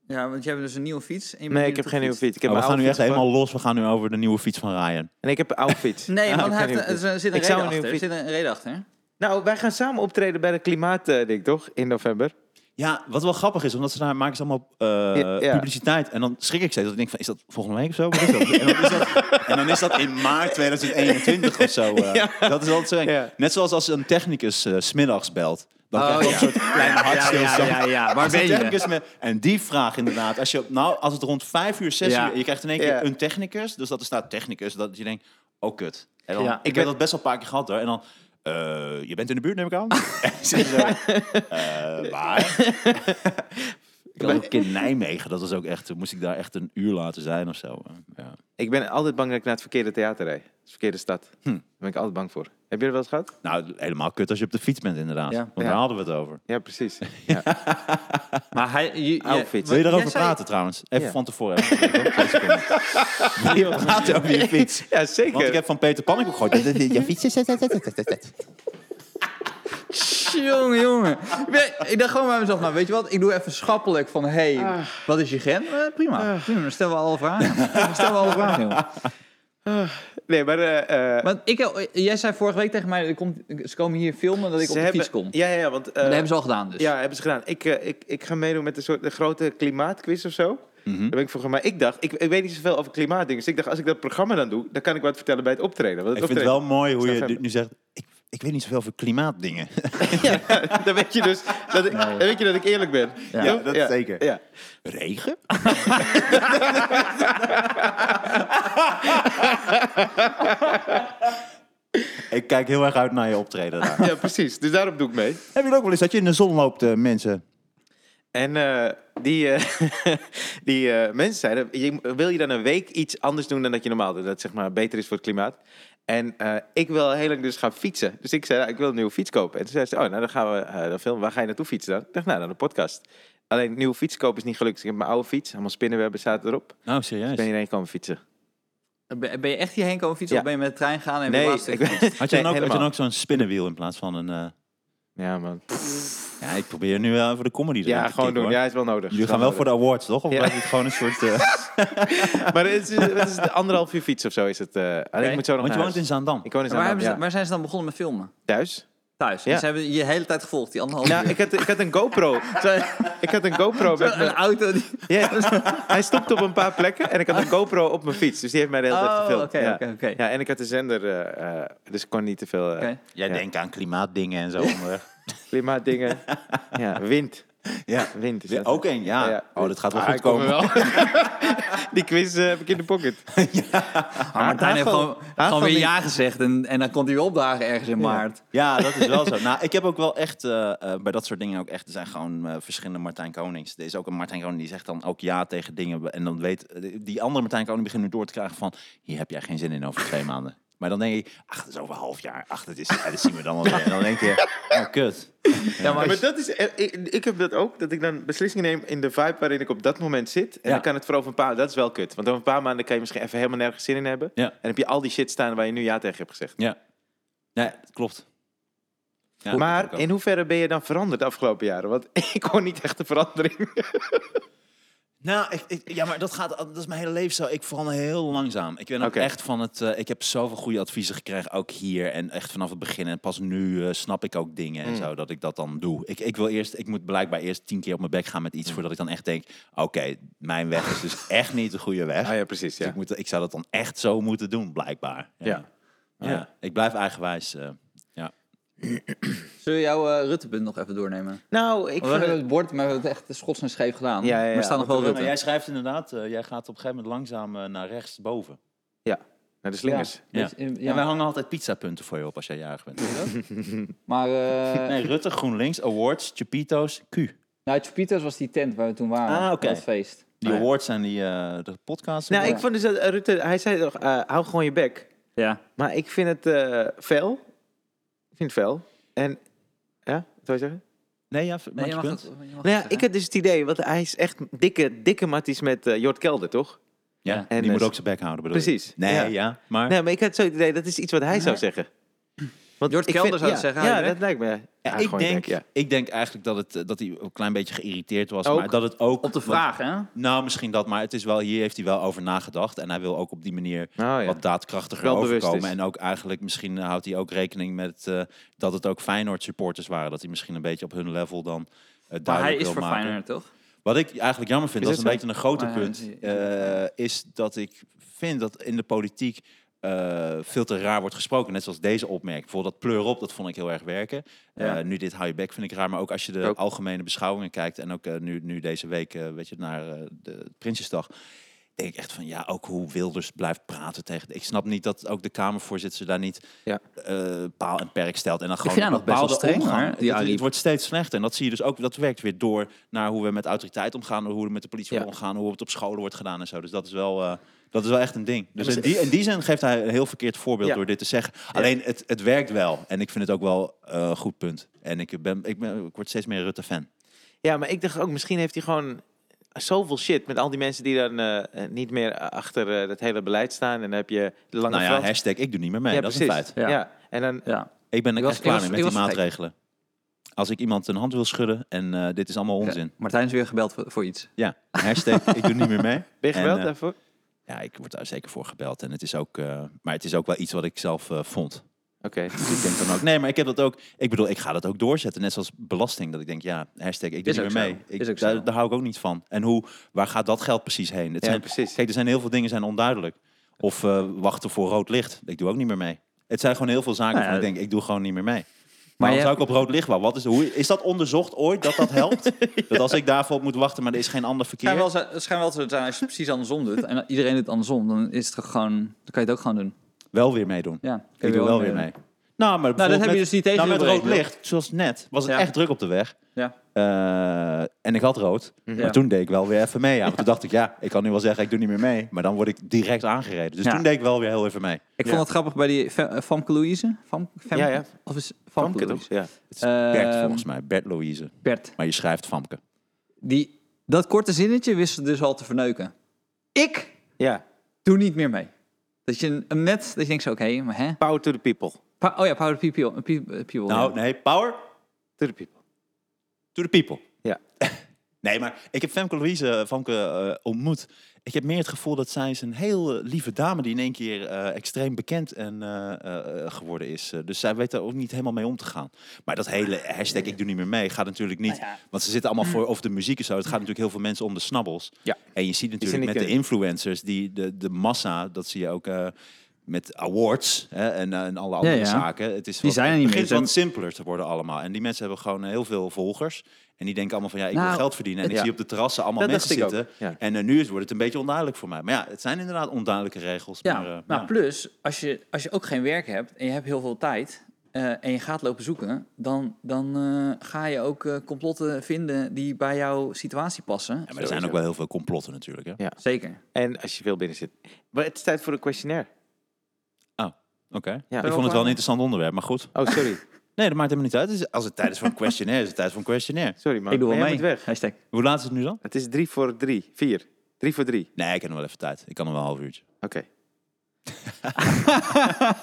S2: Ja, want jij hebt dus een nieuwe fiets. en je bent
S3: Nee, ik heb
S2: op
S3: geen nieuwe fiets. Ik heb
S1: we
S3: mijn
S1: gaan nu
S3: oude
S1: echt
S3: fiets
S1: helemaal los. We gaan nu over de nieuwe fiets van Ryan.
S3: En ik heb een oude fiets.
S2: Nee,
S3: Ah,
S2: want
S3: ik
S2: hij
S3: heb
S2: heeft,
S3: geen
S2: er, er zit een
S3: Ik zou
S2: reden
S3: een
S2: achter.
S3: nieuwe
S2: Er zit een reden achter.
S3: Nou, wij gaan samen optreden bij de klimaatding, toch? In november.
S1: Ja, wat wel grappig is, omdat ze daar maken ze allemaal eh,
S3: Ja, ja.
S1: publiciteit. En dan schrik ik steeds. Dat ik denk van, is dat volgende week of zo? Wat is dat? En, dan is dat, en dan is dat in maart 2021 of zo. eh. Dat is altijd zo eng.
S3: Ja.
S1: Net zoals als een technicus eh, 's middags belt. Dan
S2: Oh,
S1: krijg je
S2: ja.
S1: een soort kleine hartstilstand.
S2: ja. Waar
S1: Als een technicus met- en die vraag inderdaad. Als, je, op- nou, als het rond vijf uur, zes
S2: Ja.
S1: uur... en Je krijgt in één keer
S3: Ja.
S1: een technicus. Dus dat er staat technicus. Dat je denkt, oh kut. En dan,
S2: Ja,
S1: ik
S2: ik
S1: heb
S3: ben-
S1: dat best wel een paar keer gehad hoor. En dan, eh, je bent in de buurt neem ik aan? en ze zo, eh, waar? ik had ook een keer in Nijmegen. Dat was ook echt... Toen moest ik daar echt een uur laten zijn of zo. Ja.
S3: Ik ben altijd bang dat ik naar het verkeerde theater rijd. Het verkeerde stad. Daar ben ik altijd bang voor. Heb je er wel eens gehad?
S1: Nou, helemaal kut als je op de fiets bent inderdaad.
S2: Ja.
S1: Want daar
S3: Ja.
S1: hadden we het over.
S3: Ja, precies.
S2: Maar hij... Je, je-
S3: Oude fiets.
S1: Wil je
S2: Nou, jij
S1: daarover
S2: zei-
S1: praten trouwens? Even
S3: Ja.
S1: van tevoren. Even, Twee seconden. Wil je praten over je fiets?
S3: Ja, zeker.
S1: Want ik heb van Peter Pannenkoek gehoord. Je fiets is...
S2: Jongen, jongen. Ik ben- Ik dacht gewoon bij mezelf, nou weet je wat, ik doe even schappelijk van, hé, hey, wat is je gen? Eh, prima, prima, dan stellen we alle vragen. Dan stellen we alle vragen, jongen.
S3: Nee, maar... eh, eh,
S2: Want ik, eh, jij zei vorige week tegen mij, er komt, ze komen hier filmen dat ik op de
S3: hebben-
S2: fiets kom.
S3: Ja, ja, ja, want... eh,
S2: dat hebben ze al gedaan dus.
S3: Ja, hebben ze gedaan. Ik, eh, ik, ik ga meedoen met een soort een grote klimaatquiz of zo.
S1: Mhm.
S3: Daar ben ik voor gemaakt. Ik dacht, ik, ik weet niet zoveel over klimaatdingen. Dus ik dacht, als ik dat programma dan doe, dan kan ik wat vertellen bij het optreden. Want
S1: Ik
S3: het
S1: vind het wel mooi hoe je
S3: Snap
S1: dit
S3: hem.
S1: nu zegt. Ik, ik weet niet zoveel over klimaatdingen.
S3: optreden- dan weet je dus dat ik, dan weet je dat ik eerlijk ben.
S2: Ja,
S3: Toch?
S4: dat zeker.
S3: Ja.
S1: Regen? ik kijk heel erg uit naar je optreden. daar.
S3: ja, precies. Dus daarop doe ik mee.
S1: Heb je het ook wel eens dat je in de zon loopt, eh, mensen?
S3: En eh, die, eh, die eh, mensen zeiden, je- wil je dan een week iets anders doen dan dat je normaal doet? Dat het, zeg maar beter is voor het klimaat. En eh, ik wil heel lang dus gaan fietsen. Dus ik zei, nou, ik wil een nieuwe fiets kopen. En toen zei ze, oh, nou dan gaan we eh, dan filmen. Waar ga je naartoe fietsen dan? Ik dacht, nou, naar de podcast. Alleen, nieuwe fiets kopen is niet gelukt. Dus ik heb mijn oude fiets, allemaal spinnenwebben zaten erop.
S1: Nou, serieus.
S3: Ben je heen komen fietsen?
S2: Ben, ben je echt hierheen komen fietsen
S3: Ja.
S2: of ben je met de trein gaan en
S3: Nee,
S2: de laatste
S3: ik
S2: keer-
S3: ben...
S1: Had je, dan,
S3: Nee,
S1: ook, had je dan
S3: helemaal.
S1: ook zo'n spinnenwiel in plaats van een... eh,
S3: Ja, man.
S1: ja, ik probeer nu wel voor de comedy erin
S3: Ja,
S1: te
S3: gewoon
S1: kicken,
S3: doen.
S1: hoor.
S3: Ja, is wel nodig.
S1: Jullie
S3: Is wel
S1: gaan wel
S3: nodig.
S1: voor de awards, toch? Of
S3: Ja.
S1: blijft het gewoon een soort... eh,
S3: Maar het is, het is anderhalf uur fiets of zo is het. eh. Alleen, ik moet zo nog
S1: want je
S3: naar
S1: woont in
S3: huis.
S1: Zaandam.
S3: Ik woon
S2: Maar
S3: in
S2: waar,
S3: Zaandam,
S2: hebben ze,
S3: ja.
S2: waar zijn ze dan begonnen met filmen?
S3: Thuis.
S2: Thuis.
S3: Ja.
S2: En ze hebben je hele tijd gevolgd, die anderhalf
S3: Nou,
S2: uur.
S3: ik had, ik had een GoPro. Zo- Ik had een GoPro. Met
S2: Een
S3: me.
S2: auto die...
S3: Ja, Hij stopte op een paar plekken en ik had een GoPro op mijn fiets. Dus die heeft mij de hele tijd
S2: Oh,
S3: gefilmd.
S2: oké,
S3: ja.
S2: oké, oké.
S3: Ja, en ik had de zender, eh, eh, dus ik kon niet te veel eh,
S2: Oké.
S1: Jij
S3: Ja.
S1: denkt aan klimaatdingen en zo. onderweg.
S3: klimaatdingen. ja, wind.
S1: ja.
S3: Wind is
S1: Ja,
S3: dat.
S1: Ook één, ja.
S3: Ja.
S1: Oh, dat gaat wel
S3: Ah,
S1: goed
S3: ik kom
S1: komen.
S3: er wel. die quiz eh, heb ik in de pocket.
S1: Ah,
S2: Maar Martijn heeft
S3: Hagel-
S2: gewoon,
S3: Hagel
S2: gewoon weer
S3: niet.
S2: ja gezegd en, en dan komt hij weer opdagen ergens in maart.
S1: Ja, dat is wel zo. Nou, ik heb ook wel echt eh, eh, bij dat soort dingen ook echt. Er zijn gewoon eh, verschillende Martijn Konings. Er is ook een Martijn Koning die zegt dan ook ja tegen dingen. En dan weet eh, die andere Martijn Koning begint nu door te krijgen van hier heb jij geen zin in over twee maanden. Maar dan denk je, ach, het is over een half jaar. Ach, dat is, ja, dat zien we dan wel weer. En dan denk je, oh, kut.
S2: Ja, maar
S3: Ja, maar dat is, eh, ik, ik heb dat ook, dat ik dan beslissingen neem in de vibe waarin ik op dat moment zit. En
S1: Ja.
S3: dan kan het voor over een paar, dat is wel kut. Want over een paar maanden kan je misschien even helemaal nergens zin in hebben.
S1: Ja.
S3: En heb je al die shit staan waar je nu ja tegen hebt gezegd.
S1: Ja. Nee, klopt. Ja, dat
S3: maar
S1: heb ik
S3: in
S1: ook.
S3: hoeverre ben je dan veranderd de afgelopen jaren? Want ik hoor niet echt de verandering.
S1: Nou, ik, ik- ja, maar dat gaat. Dat is mijn hele leven zo. Ik verander heel langzaam. Ik ben ook
S3: Oké.
S1: echt van het. eh, ik heb zoveel goede adviezen gekregen, ook hier en echt vanaf het begin. En pas nu eh, snap ik ook dingen en
S3: Mm.
S1: zo dat ik dat dan doe. Ik, ik wil eerst. Ik moet blijkbaar eerst tien keer op mijn bek gaan met iets voordat ik dan echt denk. Oké, mijn weg is dus echt niet de goede weg.
S3: Ah, ja, precies.
S1: Dus ik, moet, ik zou dat dan echt zo moeten doen, blijkbaar.
S3: Ja.
S1: Ja. Ik blijf eigenwijs. eh,
S2: zullen we jouw eh, Ruttepunt nog even doornemen?
S3: Nou, ik
S2: We hebben het bord, maar we hebben het echt schots en scheef gedaan.
S3: Ja, ja,
S2: maar
S3: ja.
S2: er staat nog wel Rutte.
S1: maar jij schrijft inderdaad. eh, jij gaat op een gegeven moment langzaam eh, naar rechts boven.
S3: Naar de slingers.
S1: Ja.
S2: Dus, eh, ja.
S1: En wij hangen altijd pizzapunten voor je op als jij jarig bent.
S2: Maar eh
S1: Nee, Rutte, GroenLinks, Awards, Chapito's, Q.
S3: Oh
S2: nou, Chupitos was die tent waar we toen waren.
S1: Ah, oké.
S2: Dat feest.
S1: Die
S3: Ah, ja.
S1: awards en die eh, de podcast.
S3: Nou, ik vond dus dat eh, Rutte, hij zei toch, eh, hou gewoon je bek.
S2: Ja.
S3: Maar ik vind het eh fel. Ik vind het fel. En, ja, wat zou je zeggen?
S1: Nee, ja, maak je punt.
S3: Nou ja, ik had dus het idee, want hij is echt dikke, dikke matties met eh, Jort Kelder, toch?
S1: Ja,
S2: Ja.
S1: die
S3: En,
S1: moet
S3: eh,
S1: ook zijn bek houden, bedoel je?
S3: Precies.
S1: Nee,
S3: Ja.
S1: ja, maar...
S3: Nee, maar ik had zo het idee, dat is iets wat hij zou zeggen. Want
S2: Jort
S3: ik
S2: Kelder zou
S3: ja,
S2: het zeggen, hou
S3: Ja,
S2: je
S3: dat lijkt me. ja.
S1: Ja,
S3: Ja,
S1: ik,
S3: gewoon je
S1: denk,
S3: bek, ja.
S1: ik denk eigenlijk dat, het, eh, dat hij een klein beetje geïrriteerd was.
S3: Ook?
S1: Maar dat het ook...
S2: Op de
S1: want-
S2: vraag, hè?
S1: nou, misschien dat, maar het is wel, hier heeft hij wel over nagedacht. En hij wil ook op die manier
S3: Oh, ja.
S1: wat daadkrachtiger
S3: Wel bewust
S1: overkomen.
S3: is.
S1: En ook eigenlijk, misschien eh, houdt hij ook rekening met eh, dat het ook Feyenoord supporters waren. Dat hij misschien een beetje op hun level dan eh,
S2: Maar hij
S1: duidelijk
S2: is
S1: wil
S2: voor
S1: maken.
S2: Feyenoord, toch?
S1: Wat ik eigenlijk jammer vind,
S3: Is
S1: dat is een
S3: dat
S1: beetje een groter
S2: Maar Ah, ja,
S1: punt,
S2: zie je.
S1: eh, is dat ik vind dat in de politiek eh, veel te raar wordt gesproken. Net zoals deze opmerking. Bijvoorbeeld dat pleur op, dat vond ik heel erg werken.
S2: Ja.
S1: Eh, nu dit hou je bek vind ik raar, maar ook als je de
S3: Ook.
S1: algemene beschouwingen kijkt en ook eh, nu, nu deze week, eh, weet je, naar eh, de Prinsjesdag. Denk ik echt van ja, ook hoe Wilders blijft praten tegen. Ik snap niet dat ook de Kamervoorzitter daar niet
S3: Ja.
S1: eh, paal en perk stelt. En dan
S2: vind
S1: gewoon
S2: haar
S1: een
S2: nog best wel
S1: bepaalde
S2: streng, hoor,
S1: omgang.
S2: die
S1: Het- het,
S2: Ariep.
S1: wordt steeds slechter. En dat zie je dus ook. Dat werkt weer door naar hoe we met autoriteit omgaan, hoe we met de politie
S3: Ja.
S1: omgaan, hoe het op scholen wordt gedaan en zo. Dus dat is wel, eh, dat is wel echt een ding. Dus in die, in die zin geeft hij een heel verkeerd voorbeeld
S3: Ja.
S1: door dit te zeggen. Alleen het, het werkt wel. En ik vind het ook wel eh, een goed punt. En ik, ben, ik, ben, ik word steeds meer Rutte-fan.
S3: Ja, maar ik dacht ook, misschien heeft hij gewoon zoveel shit met al die mensen die dan eh, eh, niet meer achter eh, dat hele beleid staan. En dan heb je de lange
S1: Nou ja,
S3: Frans.
S1: hashtag ik doe niet meer mee.
S3: Ja,
S1: dat is een
S3: precies.
S1: feit.
S2: Ja.
S3: Ja. en dan...
S2: Ja.
S1: Ik ben er
S2: Ik was-
S1: echt klaar mee met
S2: ik was- ik
S1: die
S2: was vergeten.
S1: maatregelen. Als ik iemand een hand wil schudden en eh, dit is allemaal onzin.
S2: Martijn is weer gebeld voor, voor iets.
S1: Ja, hashtag ik doe niet meer mee.
S3: Ben je
S1: En,
S3: geweld
S1: eh,
S3: daarvoor?
S1: Ja, ik word daar zeker voor gebeld. En het is ook, eh, maar het is ook wel iets wat ik zelf eh, vond.
S3: Oké.
S1: Ik denk dan ook, nee, maar ik heb dat ook. Ik bedoel, ik ga dat ook doorzetten. Net zoals belasting. Dat ik denk, ja, hashtag, ik doe
S2: Is
S1: niet
S2: ook
S1: meer
S2: zo.
S1: mee. Ik,
S2: Is ook zo.
S1: daar, daar hou ik ook niet van. En hoe, waar gaat dat geld precies heen? Het
S3: Ja,
S1: zijn,
S3: precies.
S1: Kijk, er zijn heel veel dingen zijn onduidelijk. Of eh, wachten voor rood licht. Ik doe ook niet meer mee. Het zijn gewoon heel veel zaken
S2: Nou ja,
S1: waarvan ik denk, ik doe gewoon niet meer mee. Maar
S2: je
S1: dan zou ik op rood licht wel. Wat is, hoe, is dat onderzocht ooit, dat dat helpt? Dat als ik daarvoor op moet wachten, maar er is geen ander verkeer.
S2: schijnt wel, zo- het schijnt wel zo te zijn als je het precies andersom doet. En iedereen doet het andersom, dan is het toch gewoon... Dan kan je het ook gewoon doen.
S1: Wel weer meedoen.
S2: Ja, kun je
S1: Ik doe wel weer
S2: doen.
S1: mee. Nou, maar
S2: Nou, dat heb
S1: bijvoorbeeld
S2: je dus
S1: met-
S2: niet tegen
S1: nou,
S2: je
S1: met rood
S2: berekend.
S1: licht, zoals net, was het
S2: Ja.
S1: echt druk op de weg.
S2: Ja.
S1: Eh, en ik had rood.
S2: Ja.
S1: Maar toen deed ik wel weer even mee. Ja. Want toen dacht ik, ja, ik kan nu wel zeggen, ik doe niet meer mee. Maar dan word ik direct aangereden. Dus
S2: Ja.
S1: toen deed ik wel weer heel even mee.
S2: Ik
S3: Ja.
S2: vond het grappig bij die Fe- eh, Famke Louise. Fam, Fem-
S3: Ja, ja.
S2: Of is Famke
S3: Famke toch?
S2: Louise?
S3: Ja.
S1: Het is
S2: Ehm,
S1: Bert volgens mij, Bert Louise.
S2: Bert.
S1: Maar je schrijft Famke.
S2: Die, dat korte zinnetje wist ze dus al te verneuken. Ik
S3: Ja.
S2: doe niet meer mee. Dat je een net, dat je denkt zo, oké, maar hè?
S3: Power to the people.
S2: Pa- oh ja, Power to People. pe- eh, people
S1: Nou, nee, power
S3: To the people.
S1: to the people.
S3: Ja.
S1: Nee, maar ik heb Femke Louise eh, Famke eh, ontmoet. Ik heb meer het gevoel dat zij is een heel eh, lieve dame die in één keer eh, extreem bekend en, eh, eh, geworden is. Eh, dus zij weet daar ook niet helemaal mee om te gaan. Maar dat hele hashtag ik doe niet meer mee gaat natuurlijk niet. Want ze zitten allemaal voor over de muziek en zo. Het gaat natuurlijk heel veel mensen om de snabbels.
S3: Ja.
S1: En je ziet natuurlijk
S3: niet
S1: met de
S3: kunnen.
S1: influencers, die, de, de massa, dat zie je ook eh, met awards hè, en, eh, en alle andere
S2: ja.
S1: zaken. Het is
S2: Die
S1: wat-
S2: zijn er
S1: het
S2: niet
S1: begint
S2: meer.
S1: wat simpeler te worden allemaal. En die mensen hebben gewoon eh, heel veel volgers. En die denken allemaal van ja, ik
S2: Nou,
S1: wil geld verdienen. En ik
S2: ja.
S1: zie op de terrassen allemaal
S3: Dat
S1: mensen
S3: dacht ik
S1: zitten.
S3: ook, ja.
S1: En eh, nu is- wordt het een beetje onduidelijk voor mij. Maar ja, het zijn inderdaad onduidelijke regels.
S2: Ja,
S1: maar,
S2: maar,
S1: eh, ja.
S2: plus, als je, als je ook geen werk hebt en je hebt heel veel tijd eh, en je gaat lopen zoeken, dan, dan eh, ga je ook eh, complotten vinden die bij jouw situatie passen.
S1: Ja, maar er zijn ook wel heel veel complotten natuurlijk. Hè?
S3: Ja.
S2: Zeker.
S3: En als je veel binnen zit. Maar het is tijd voor een questionnaire.
S1: Oh, Oké.
S3: Ja.
S1: Ik vond het wel een interessant onderwerp, maar goed.
S3: Oh, sorry.
S1: Nee, dat maakt helemaal niet uit. Het is- Als het tijd is voor een questionnaire, is het tijd voor een questionnaire.
S3: Sorry, man.
S2: ik doe wel
S3: Maar
S2: mee.
S3: jij moet weg.
S2: Hashtag.
S1: Hoe laat is het nu dan?
S3: Het is drie voor drie. Vier. Drie voor drie.
S1: Nee, ik heb nog wel even tijd. Ik kan nog wel een half uurtje.
S3: Oké.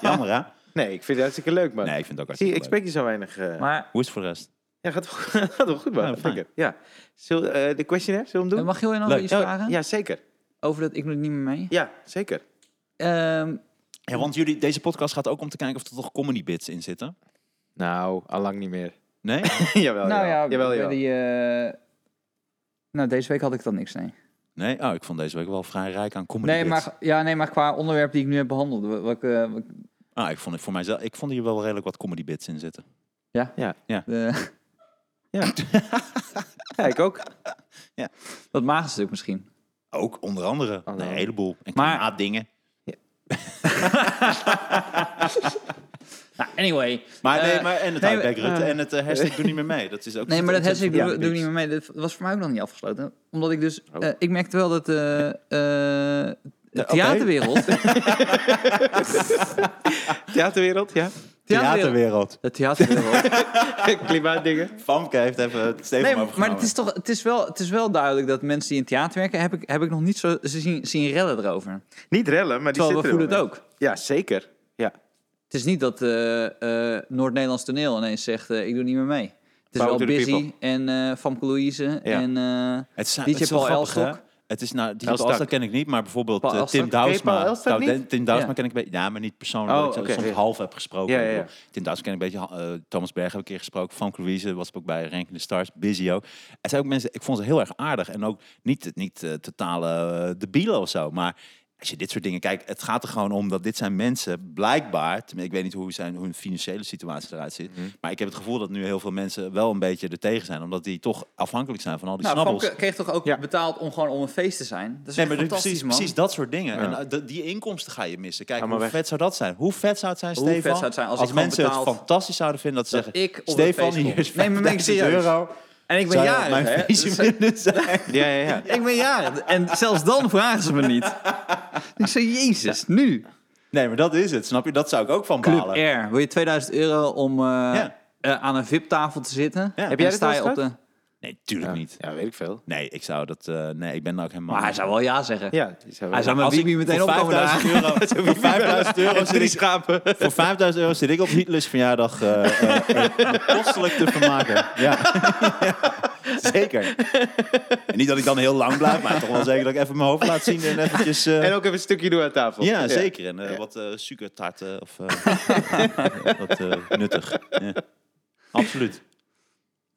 S1: Jammer, hè?
S3: Nee, ik vind het hartstikke leuk, man.
S1: Nee, ik vind het ook
S3: Zie, je,
S1: hartstikke
S3: ik
S1: leuk.
S3: spreek je zo weinig. eh.
S2: Maar
S1: Hoe is het voor de rest?
S3: Ja, gaat wel, gaat wel goed, man.
S1: Ja,
S3: Gaat lekker.
S1: fijn.
S3: Ja. Zul, eh, de questionnaire, zullen we
S2: eh,
S3: hem doen?
S2: mag Johan nog
S1: Leuk.
S2: iets
S3: Oh,
S2: vragen?
S3: ja, zeker.
S2: Over dat ik doe het niet meer mee.
S3: Ja, zeker.
S2: Ehm,
S1: Ja, want jullie, deze podcast gaat ook om te kijken of er toch comedy bits in zitten.
S3: Nou, allang niet meer.
S1: Nee?
S3: jawel,
S2: nou ja,
S3: jawel. Oh, jawel,
S2: bij
S3: jawel.
S2: die, eh, nou, deze week had ik dan niks, nee.
S1: Nee? Oh, ik vond deze week wel vrij rijk aan comedy
S2: Nee
S1: bits.
S2: maar, ja, nee, maar qua onderwerp die ik nu heb behandeld. wa- Wat, ik, eh, wat ik,
S1: Ah, ik vond het voor mijzelf. Ik vond hier wel redelijk wat comedy bits in zitten.
S2: eh,
S3: Ja, ik ook.
S2: dat magenstuk misschien.
S1: Ook onder andere
S3: Oh, nou.
S1: een heleboel. En
S2: Maar-
S1: maar dingen.
S2: Nou, anyway.
S1: Maar
S2: Eh,
S1: nee, maar en het
S2: nee,
S1: houdt
S3: maar-
S1: Rutte en het eh, hashtag doe niet meer mee. Dat is ook.
S2: Nee, maar dat hashtag
S1: ontzettend
S2: doe,
S1: goed.
S2: doe ik niet meer mee. Dat was voor mij ook nog niet afgesloten. Omdat ik dus...
S3: Oh.
S2: eh, ik merkte wel dat eh, eh, de
S1: oké.
S2: theaterwereld...
S3: Theaterwereld, ja.
S2: theaterwereld.
S1: Theaterwereld.
S2: De theaterwereld.
S3: Klimaatdingen.
S1: Famke heeft even het stevig
S2: Nee,
S1: nee,
S2: maar het is toch het is wel, het is wel duidelijk dat mensen die in theater werken, heb ik, heb ik nog niet zo ze zien, zien rellen erover.
S3: Niet rellen, maar die
S2: Terwijl we
S3: zitten
S2: voelen
S3: er
S2: het
S3: wel
S2: ook.
S3: mee. Ja, zeker. Ja.
S2: Het is niet dat eh, eh, Noord-Nederlands toneel ineens zegt, eh, ik doe niet meer mee. Het is
S3: Power
S2: wel
S3: to the
S2: Busy
S3: people.
S2: en eh Famke Louise en eh,
S1: Het is,
S2: DJ
S1: het is wel
S2: Paul
S1: grappig, hè?
S2: Elstok.
S1: Het is nou, die
S3: Elstak.
S1: Elstak ken ik niet, maar bijvoorbeeld
S2: Paul
S1: eh, Tim
S2: Elstak.
S1: Douwsma.
S3: Ken je Paul Elstak
S1: Nou,
S3: niet?
S1: Tim Douwsma
S2: Ja.
S1: ken ik een beetje. Ja, maar niet persoonlijk.
S3: Oh,
S1: dat ik
S3: oké,
S1: soms
S3: ja.
S1: half heb gesproken.
S3: Ja, ja,
S1: Ik
S3: ja.
S1: bedoel, Tim Douwsma ken ik een beetje. eh, Thomas Berg heb ik een keer gesproken. Frank Louise was ook bij Ranking the Stars. Busy ook. Het zijn ook mensen, ik vond ze heel erg aardig. En ook niet, niet eh, totale eh, debielen of zo. Maar als je dit soort dingen kijkt, het gaat er gewoon om dat dit zijn mensen blijkbaar, tenminste, ik weet niet hoe, zijn, hoe hun financiële situatie eruit ziet,
S3: Mhm.
S1: maar ik heb het gevoel dat nu heel veel mensen wel een beetje er tegen zijn, omdat die toch afhankelijk zijn van al die
S2: nou,
S1: snabbels.
S2: Famke kreeg toch ook
S3: Ja.
S2: betaald om gewoon om een feest te zijn. Dat is
S1: Nee,
S2: echt
S1: maar dit-
S2: fantastisch,
S1: precies,
S2: man.
S1: precies dat soort dingen.
S3: Ja.
S1: En eh, de- die inkomsten ga je missen. Kijk,
S3: Ga maar
S1: hoe
S3: weg.
S1: vet zou dat zijn? Hoe vet zou het zijn,
S2: Hoe
S1: Stefan,
S2: vet zou het zijn als ik gewoon
S1: mensen het
S2: betaald-
S1: fantastisch zouden vinden dat ze zeggen...
S2: ik op een
S1: Stefan,
S2: feest
S1: hier is
S2: kom." Nee, maar ben ik
S1: 5000
S2: serieus?
S1: euro.
S2: En ik ben
S1: Zou je
S2: jarig,
S1: mijn
S2: hè?
S1: feestje
S2: Dus-
S1: willen zijn?
S3: Ja, ja, ja.
S2: Ik ben jarig. En zelfs dan vragen ze me niet. Ik zei, jezus, nu.
S1: Nee, maar dat is het, snap je? Dat zou ik ook van
S2: Club
S1: balen.
S2: Air. Wil je 2000 euro om eh,
S1: Ja.
S2: eh, aan een VIP-tafel te zitten?
S1: Ja.
S2: En
S1: Heb
S3: jij dit
S2: sta
S3: wel
S2: je
S3: eens
S2: op de...
S1: Nee, tuurlijk
S3: Ja.
S1: niet.
S3: Ja, weet ik veel.
S1: Nee, ik zou dat... eh, nee, ik ben daar ook helemaal...
S2: Maar hij zou wel ja zeggen.
S3: Ja, die zijn
S2: Hij
S3: wel-
S2: zou met
S1: Als ik
S2: Bibi meteen
S1: voor
S2: opkomen daar.
S1: 5000 euro, voor 5000 euro zit
S3: En drie
S1: ik,
S3: schapen.
S1: voor 5000 euro zit ik op Hitler's verjaardag eh eh, eh, kostelijk te vermaken. Ja. zeker. En niet dat ik dan heel lang blijf, maar toch wel zeker dat ik even mijn hoofd laat zien en eventjes... eh,
S3: En ook even een stukje door aan tafel.
S1: ja, zeker. En eh, wat eh suikertarten of eh, wat eh, nuttig. Ja. Absoluut.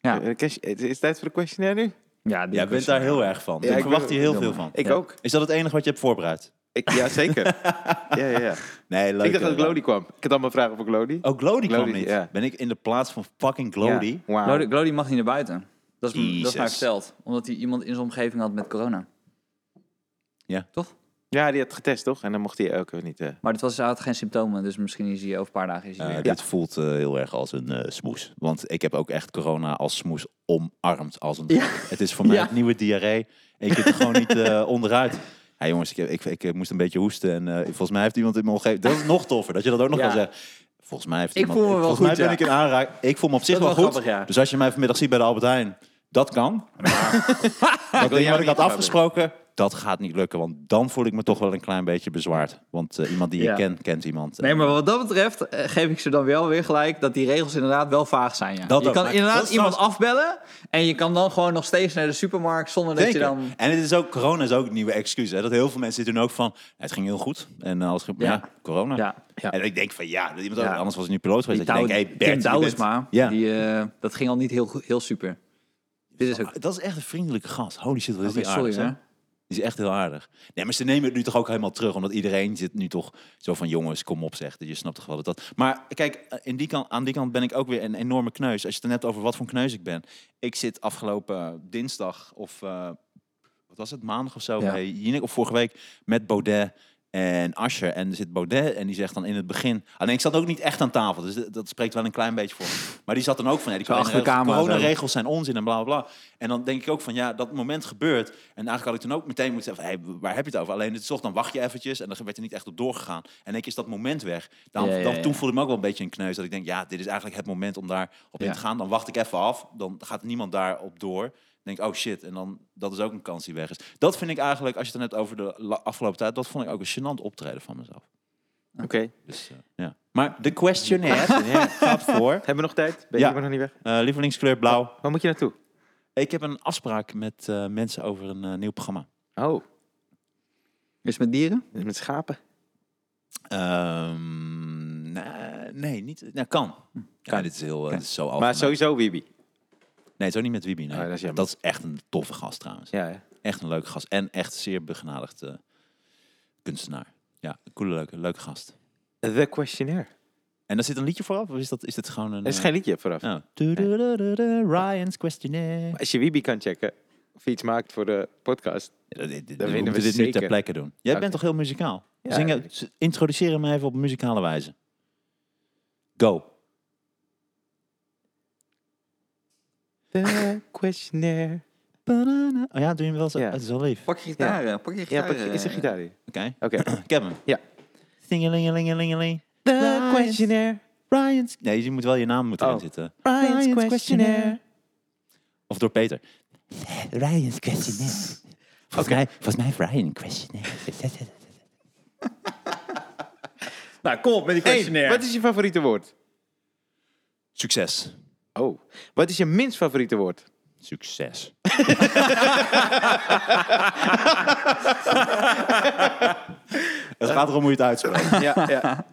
S2: Ja.
S3: Eh, Kees, het is tijd voor de questionnaire nu?
S2: Ja, die
S1: Ja, ik ben daar heel erg van.
S3: Ja,
S1: ik
S3: ik
S1: verwacht
S3: ben-
S1: hier heel
S2: jammer.
S1: veel van.
S3: Ik
S2: Ja.
S3: ook.
S1: Is dat het enige wat je hebt voorbereid?
S3: Ik, ja, zeker. ja, ja, ja.
S1: Nee, leuk.
S3: Ik dacht
S1: eh,
S3: dat Glody kwam. Ik had allemaal vragen voor Glody.
S1: Oh, Glody kwam
S3: Glody,
S1: niet.
S3: ja.
S1: Ben ik in de plaats van fucking Glody?
S3: Ja, wauw.
S2: Glody, Glody mag niet naar buiten. Dat is, m- dat is mij
S1: Jezus.
S2: verteld. Omdat hij iemand in zijn omgeving had met corona.
S1: Ja.
S2: Toch?
S3: Ja, die had getest, toch? En dan mocht hij ook weer niet... eh,
S2: Maar dit was, hij had geen symptomen, dus misschien is hij over een paar dagen is hij
S1: Eh,
S2: weer.
S1: Dit voelt eh, heel erg als een eh, smoes. Want ik heb ook echt corona als smoes omarmd. Als een... Het is voor mij
S2: Ja.
S1: het nieuwe diarree. En je kunt er gewoon niet eh, onderuit. Ja, jongens, ik, ik, ik, eh, moest een beetje hoesten. En eh, volgens mij heeft iemand in mijn omgeving... Dat is nog toffer, dat je dat ook nog
S2: Ja.
S1: kan zeggen. Volgens mij heeft
S2: Ik
S1: iemand...
S2: voel me wel
S1: volgens mij
S2: goed,
S1: ben ik in aanraak. Ik voel me op zich
S2: Dat
S1: wel,
S2: is wel
S1: goed.
S2: grappig, ja.
S1: Dus als je mij vanmiddag ziet bij de Albert Heijn, dat kan. Maar dat ding
S3: jou
S1: wat ik
S3: niet
S1: had afgesproken, dat gaat niet lukken. Want dan voel ik me toch wel een klein beetje bezwaard. Want eh, iemand die
S2: Ja.
S1: je kent, kent iemand. eh,
S2: Nee, maar wat dat betreft eh, geef ik ze dan wel weer gelijk dat die regels inderdaad wel vaag zijn. Ja.
S1: Dat
S2: je
S1: ook,
S2: kan
S1: maar
S2: inderdaad
S1: dat is
S2: iemand afbellen en je kan dan gewoon nog steeds naar de supermarkt zonder dat je
S1: Zeker.
S2: dan...
S1: En het is ook, corona is ook een nieuwe excuus. Hè? Dat heel veel mensen doen ook van, het ging heel goed. En alles goed. maar
S2: Ja.
S1: Ja, corona.
S2: Ja, ja.
S1: En ik denk van, ja, dat iemand
S2: Ja.
S1: ook- anders was ik nu piloot
S2: Die
S1: geweest. Dat je
S2: Douw-
S1: denkt, hey Bert,
S2: Tim
S1: je
S2: Douwensma,
S1: bent- Ja.
S2: die, eh, dat ging al niet heel, goed- heel super. Dit is ook...
S1: Ah, Dat is echt een vriendelijke gast. Holy shit, wat is
S2: Oké,
S1: die aardig.
S2: sorry
S1: hè?
S2: hoor.
S1: Die is echt heel aardig. Nee, maar ze nemen het nu toch ook helemaal terug. Omdat iedereen zit nu toch zo van, jongens, kom op zeg. Je snapt toch wel dat dat... Maar kijk, eh, in die kant, aan die kant ben ik ook weer een enorme kneus. Als je het er net over wat voor een kneus ik ben. Ik zit afgelopen eh, dinsdag of... eh, wat was het, maandag of zo,
S2: Ja.
S1: bij Jinek, of vorige week, met Baudet en Ascher. En er zit Baudet en die zegt dan in het begin... Alleen ik zat ook niet echt aan tafel, dus dat, dat spreekt wel een klein beetje voor me. Maar die zat dan ook van, ja, die
S2: Zo achter de
S1: corona-
S2: camera, zo.
S1: coronaregels zijn onzin en bla, bla, bla. En dan denk ik ook van, ja, dat moment gebeurt. En eigenlijk had ik toen ook meteen moeten zeggen, hey, waar heb je het over? Alleen het is toch, dan wacht je eventjes en dan werd er niet echt op doorgegaan. En ik is dat moment weg. Dan,
S2: Ja, ja,
S1: dan,
S2: ja.
S1: toen voelde ik me ook wel een beetje een kneus. Dat ik denk, ja, dit is eigenlijk het moment om daar op in
S2: Ja.
S1: te gaan. Dan wacht ik even af. Dan gaat niemand daarop door. Dan denk ik, oh shit. En dan, dat is ook een kans die weg is. Dat vind ik eigenlijk, als je het dan hebt over de la- afgelopen tijd, dat vond ik ook een gênant optreden van mezelf.
S3: Oké.
S1: Dus, eh, ja. Maar de questionnaire ja, gaat voor.
S3: Hebben we nog tijd? Ben
S1: Ja.
S3: je maar nog niet weg?
S1: Eh, lievelingskleur blauw.
S3: Waar moet je naartoe?
S1: Ik heb een afspraak met eh, mensen over een eh, nieuw programma.
S3: Oh,
S2: Is het met dieren?
S3: Dus met schapen.
S1: Ehm, nee, nee, niet. Nou, kan. Ja, dit is heel, eh, dit is zo
S3: Hm, Maar
S1: algemeen.
S3: sowieso Wibi.
S1: Nee, zo niet met Wibi. nee.
S3: Oh, dat is jammer.
S1: dat is echt een toffe gast trouwens.
S3: Ja, ja.
S1: Echt een leuke gast. En echt zeer begenadigd eh, kunstenaar. Ja, een coole, leuke, leuke gast.
S3: The Questionnaire.
S1: En daar zit een liedje vooraf? Of is, dat, is dit gewoon een...
S3: Er is
S1: eh,
S3: geen liedje vooraf.
S1: oh. Doedoedoedoe, Ryan's Questionnaire.
S3: Als je Wibi kan checken, of je iets maakt voor de podcast.
S1: Ja, dit- dit- we
S3: weten
S1: moeten
S3: we
S1: dit niet ter
S3: zeker.
S1: plekke doen. Jij
S3: Oké.
S1: bent toch heel muzikaal?
S3: Ja,
S1: Zingen,
S3: ik-
S1: s- introduceer hem even op muzikale wijze. Go.
S3: The Questionnaire.
S1: Ba-da-da. Oh ja, doe je hem wel zo?
S3: Ja.
S1: Het is wel lief. Oké.
S2: Pak je gitaar, eh, pak je
S3: Ja,
S2: gitaar.
S3: pak je- is er
S2: eh.
S3: gitaar hier? Oké.
S1: Ik heb hem.
S3: Ja.
S1: Tingelingelingelingeling.
S3: The
S1: Ryan's-
S3: Questionnaire.
S1: Ryan's... Nee, je moet wel je naam moet erin
S3: Oh.
S1: zitten.
S3: Ryan's Questionnaire.
S1: Of door Peter. Ryan's questionnaire. Volgens, mij, volgens mij heeft Ryan een questionnaire.
S2: Nou, kom op met die
S3: Hey,
S2: questionnaire.
S3: wat is je favoriete woord?
S1: Succes.
S3: Oh. Wat is je minst favoriete woord?
S1: Succes. het gaat erom hoe je het uitspreekt.
S3: ja, ja.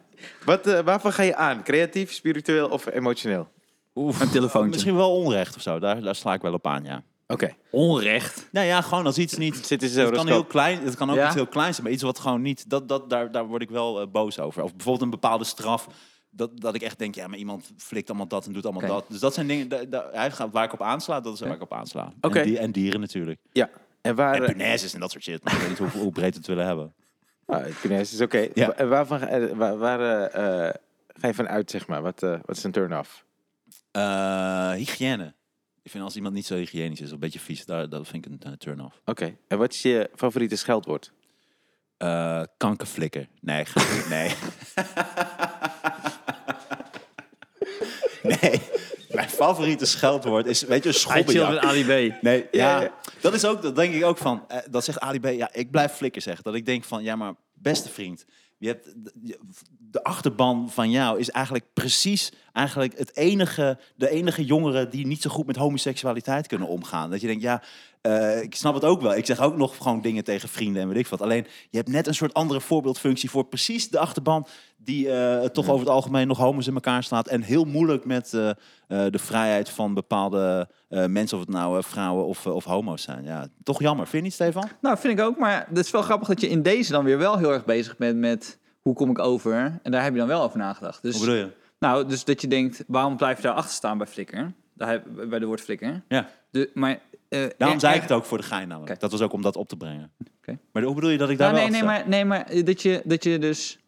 S3: Wat, eh, waarvan ga je aan? Creatief, spiritueel of emotioneel?
S2: een telefoontje.
S1: Misschien wel onrecht of zo. Daar, daar sla ik wel op aan, ja.
S3: Oké.
S2: Onrecht.
S1: Nou ja, gewoon als iets niet...
S3: Zitten ze zo
S1: Het kan, heel klein, het kan ook
S2: Ja?
S1: iets heel kleins zijn, maar iets wat gewoon niet... Dat, dat, daar, daar word ik wel eh, boos over. Of bijvoorbeeld een bepaalde straf... Dat, dat ik echt denk, ja, maar iemand flikt allemaal dat en doet allemaal
S2: Oké.
S1: dat. Dus dat zijn dingen daar, daar, hij gaat- waar ik op aansla, dat is waar ik op aansla.
S3: Oké.
S1: En, die- en dieren natuurlijk.
S3: Ja. En waar...
S1: En
S3: eh,
S1: punaises en dat soort shit. Maar ik weet niet hoe, hoe breed we het willen hebben.
S3: Nou, het punaise is oké.
S1: Ja.
S3: Wa- En waarvan ga- eh, waar, waar, eh, eh, ga je van uit, zeg maar? Wat, eh, wat is een turn-off?
S1: Eh, hygiëne. Ik vind als iemand niet zo hygiënisch is, of een beetje vies, daar, dat vind ik een eh, turn-off.
S3: Oké. En wat is je favoriete scheldwoord?
S1: Eh, kankerflikker. Nee, ge- nee. nee. Mijn favoriete scheldwoord is, weet je, een
S2: Hij chillt met
S1: schobbenjak.
S2: Ali B.
S1: Nee,
S3: Ja,
S1: ja,
S3: ja.
S1: dat is ook, dat denk ik ook van, eh, dat zegt Ali B, ja, ik blijf flikker zeggen. Dat ik denk van, ja, maar beste vriend, je hebt, je- de achterban van jou is eigenlijk precies, eigenlijk het enige, de enige jongeren die niet zo goed met homoseksualiteit kunnen omgaan. Dat je denkt, ja, eh, ik snap het ook wel. Ik zeg ook nog gewoon dingen tegen vrienden en weet ik wat. Alleen, je hebt net een soort andere voorbeeldfunctie voor precies de achterban die eh, toch over het algemeen nog homo's in elkaar slaat en heel moeilijk met eh, eh, de vrijheid van bepaalde eh, mensen, of het nou eh, vrouwen of, eh, of homo's zijn. Ja, toch jammer. Vind je niet, Stefan?
S2: Nou, vind ik ook. Maar het is wel grappig dat je in deze dan weer wel heel erg bezig bent met hoe kom ik over. En daar heb je dan wel over nagedacht. Dus,
S1: Hoe bedoel je?
S2: Nou, dus dat je denkt, waarom blijf je daar achter staan bij Flickr? Daar, heb- bij de woord Flickr.
S1: Ja.
S2: De, maar, eh,
S1: Daarom
S2: eh,
S1: zei ik
S2: eh,
S1: het ook voor de gein namelijk.
S2: Oké.
S1: Dat was ook om dat op te brengen.
S2: Oké.
S1: Maar hoe bedoel je dat ik daar
S2: Nou,
S1: wel
S2: nee, nee,
S1: achter
S2: maar, nee, maar eh, dat je, dat je dus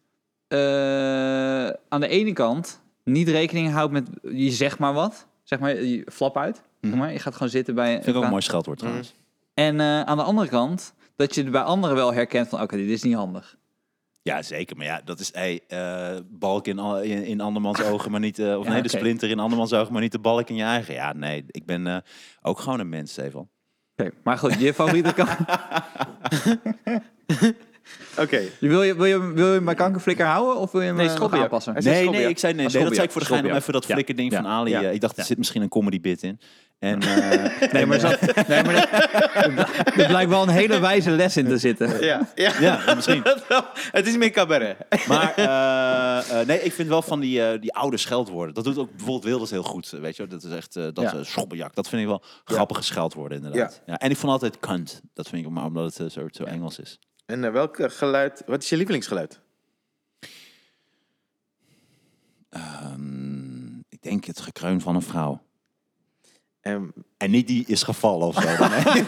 S2: eh, aan de ene kant niet rekening houdt met, je zegt maar wat. Zeg maar, je flap uit. Zeg maar, je gaat gewoon zitten bij...
S1: sta? Mhm. Vind ik ook een mooi scheldwoord trouwens.
S2: En eh, aan de andere kant, dat je bij anderen wel herkent van, oké, dit is niet handig.
S1: Ja, zeker. Maar ja, dat is hey, eh, balk in, al- in, in andermans ogen, maar niet... eh, of
S2: Ah. Ja,
S1: nee,
S2: oké.
S1: de splinter in andermans ogen, maar niet de balk in je eigen. Ja, nee, ik ben eh, ook gewoon een mens, Stefan.
S2: Oké, maar goed, je favoriete kan.
S3: Oké.
S2: Je Wil je, wil je, wil je mijn kankerflikker houden of wil je hem
S3: Nee,
S2: eh, nog
S3: schoppenjak.
S2: aanpassen?
S3: Hij is- zei
S1: Nee, nee, ik
S3: schobbenjak.
S1: zei, nee,
S2: Ah,
S1: nee, dat zei ik
S2: schobbenjak,
S1: voor de gein om
S2: schobbenjak.
S1: even dat
S2: Ja.
S1: flikkerding
S2: Ja.
S1: van Ali.
S2: Ja.
S1: eh, ik dacht, er
S2: Ja.
S1: zit misschien een comedy bit in. En, eh,
S2: Nee, maar, zo, nee, maar er, er blijkt wel een hele wijze les in te zitten.
S3: Ja, ja.
S1: eh, ja, misschien.
S3: Dat wel. het is meer cabaret.
S1: Maar eh, eh, nee, ik vind wel van die, eh, die oude scheldwoorden. Dat doet ook bijvoorbeeld Wilders heel goed. eh, Weet je, wel. dat is echt eh, dat
S2: Ja.
S1: eh, schobbenjak. Dat vind ik wel grappige scheldwoorden inderdaad. Ja. en ik vond altijd cunt. Dat vind ik maar omdat het eh, zo, zo Engels is.
S3: En eh, welk eh, geluid, wat is je lievelingsgeluid?
S1: Ehm, ik denk het gekreun van een vrouw.
S3: Ehm,
S1: En niet die is gevallen of zo. Nee.
S2: Misschien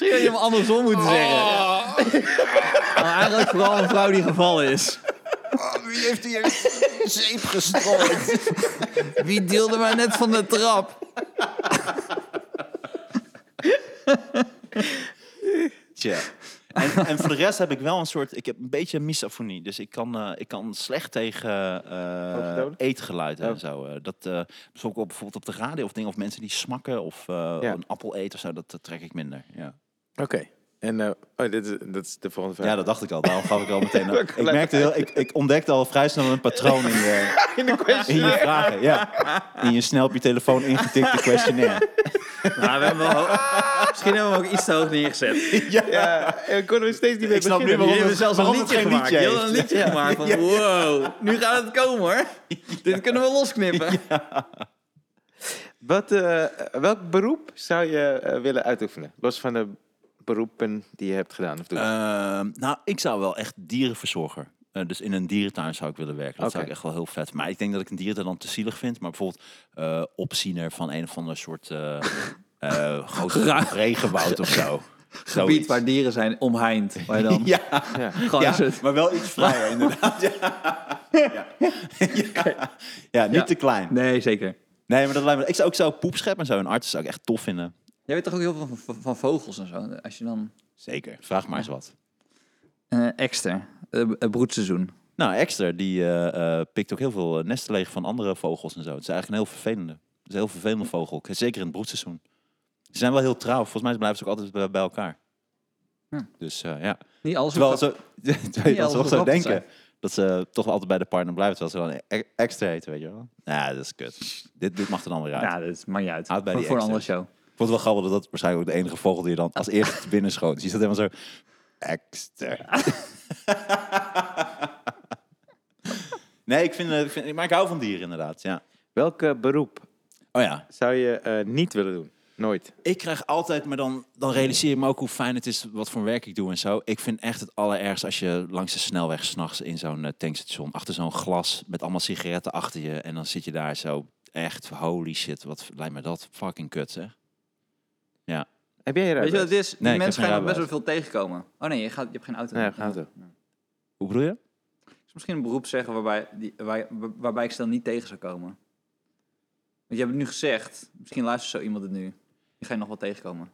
S2: had je hem andersom moeten zeggen. Maar Oh. Nou, eigenlijk vooral een vrouw die gevallen is.
S1: Ah, Wie heeft hier zeep gestrooid?
S2: Wie deelde maar net van de trap?
S1: Tja. En, en voor de rest heb ik wel een soort... Ik heb een beetje misofonie. Dus ik kan, eh, ik kan slecht tegen eh
S3: Hoogtonen?
S1: eetgeluiden
S3: Oh.
S1: en zo. eh, dat, eh dus ook op, bijvoorbeeld op de radio of dingen. Of mensen die smakken of eh, een appel eten of zo. Dat eh, trek ik minder. Ja.
S3: Oké. En eh, oh, dit is, dat is de volgende vraag.
S1: ja, dat dacht ik al. Daarom gaf ik al meteen...
S3: Welk
S1: Ik
S3: geluid?
S1: merkte heel... Ik, ik ontdekte al vrij snel een patroon in je,
S3: In de
S1: in
S3: question.
S1: je vragen. Ja. In je snel op je telefoon ingetikte questionnaire.
S2: Nou, we hebben wel, misschien hebben we hem ook iets te hoog neergezet. Jullie
S3: Ja, en konden we steeds niet meer
S1: Ik snap nu
S3: beginnen.
S1: waarom
S2: hebben
S1: het-
S2: zelfs een
S1: waarom het
S2: liedje
S1: geen
S2: gemaakt.
S1: liedje
S2: Jullie hebben een liedje gemaakt van wow, nu gaat het komen hoor. Dit kunnen we losknippen.
S3: Wat, eh, welk beroep zou je eh, willen uitoefenen? Los van de beroepen die je hebt gedaan of doet.
S1: Ehm, nou, ik zou wel echt dierenverzorger. eh, dus in een dierentuin zou ik willen werken. Dat zou
S3: Oké.
S1: ik echt wel heel vet. Maar ik denk dat ik een dierentuin dan te zielig vind. Maar bijvoorbeeld eh, opziener van een of ander soort eh eh, groot
S2: Graag.
S1: regenwoud of zo.
S2: Gebied
S1: Zoiets.
S2: waar dieren zijn omheind. Waar je dan
S1: Ja,
S2: gewoon
S1: ja,
S2: een soort-
S1: maar wel iets vrijer inderdaad. Ja, ja. ja. ja niet
S2: Ja.
S1: te klein.
S2: Nee, zeker.
S1: Nee, maar dat lijkt me... Ik zou ook zo poepschep en zo. Een arts zou ik echt tof vinden.
S2: Jij weet toch ook heel veel van, van vogels en zo. Als je dan
S1: Zeker. Vraag maar eens wat.
S2: eh exter, eh, b- eh, broedseizoen.
S1: Nou, Exter, die eh, eh, pikt ook heel veel eh, nesten leeg van andere vogels en zo. Het is eigenlijk een heel vervelende. Het is een heel vervelende vogel. Zeker in het broedseizoen. Ze zijn wel heel trouw. Volgens mij blijven ze ook altijd bij, bij elkaar.
S2: Ja.
S1: Dus eh, ja.
S2: Niet alles.
S1: Terwijl
S2: Terwijl,
S1: ze, terwijl je
S2: alles
S1: dat
S2: hoeft
S1: ook zo
S2: rap te
S1: denken.
S2: zijn.
S1: Dat ze toch wel altijd bij de partner blijven. Terwijl ze dan extra heten, weet je wel. Ja, dat is kut. Dit, dit mag er dan weer uit.
S2: Ja, dat maakt niet uit.
S1: Houd bij
S2: voor,
S1: die
S2: voor een andere
S1: exters.
S2: show.
S1: Ik vond het wel grappig dat dat waarschijnlijk ook de enige vogel die je dan als eerste te binnen schoot. Dus je zat helemaal zo... Exter. nee, ik vind, eh, ik vind... Maar ik hou van dieren inderdaad, ja.
S3: Welk eh, beroep
S1: Oh ja,
S3: zou je eh, niet willen doen? Nooit.
S1: ik krijg altijd, maar dan, dan realiseer ik me ook hoe fijn het is wat voor werk ik doe en zo. Ik vind echt het allerergst als je langs de snelweg s'nachts in zo'n eh, tankstation, achter zo'n glas met allemaal sigaretten achter je. En dan zit je daar zo echt, holy shit, wat lijkt me dat fucking kut zeg.
S3: Heb jij
S2: Weet je wat
S3: eruit?
S2: het is? Die
S1: Nee, ik heb
S2: mensen
S1: geen
S2: gaan er best wel
S1: rijbewijs.
S2: veel tegenkomen. Oh nee, je, gaat, je hebt geen auto.
S3: Nee, geen auto.
S1: Hoe bedoel je?
S2: Dus misschien een beroep zeggen waarbij, die, waar, waar- waarbij ik stel niet tegen zou komen. Want je hebt het nu gezegd. Misschien luistert zo iemand het nu. Je ga je nog wel tegenkomen.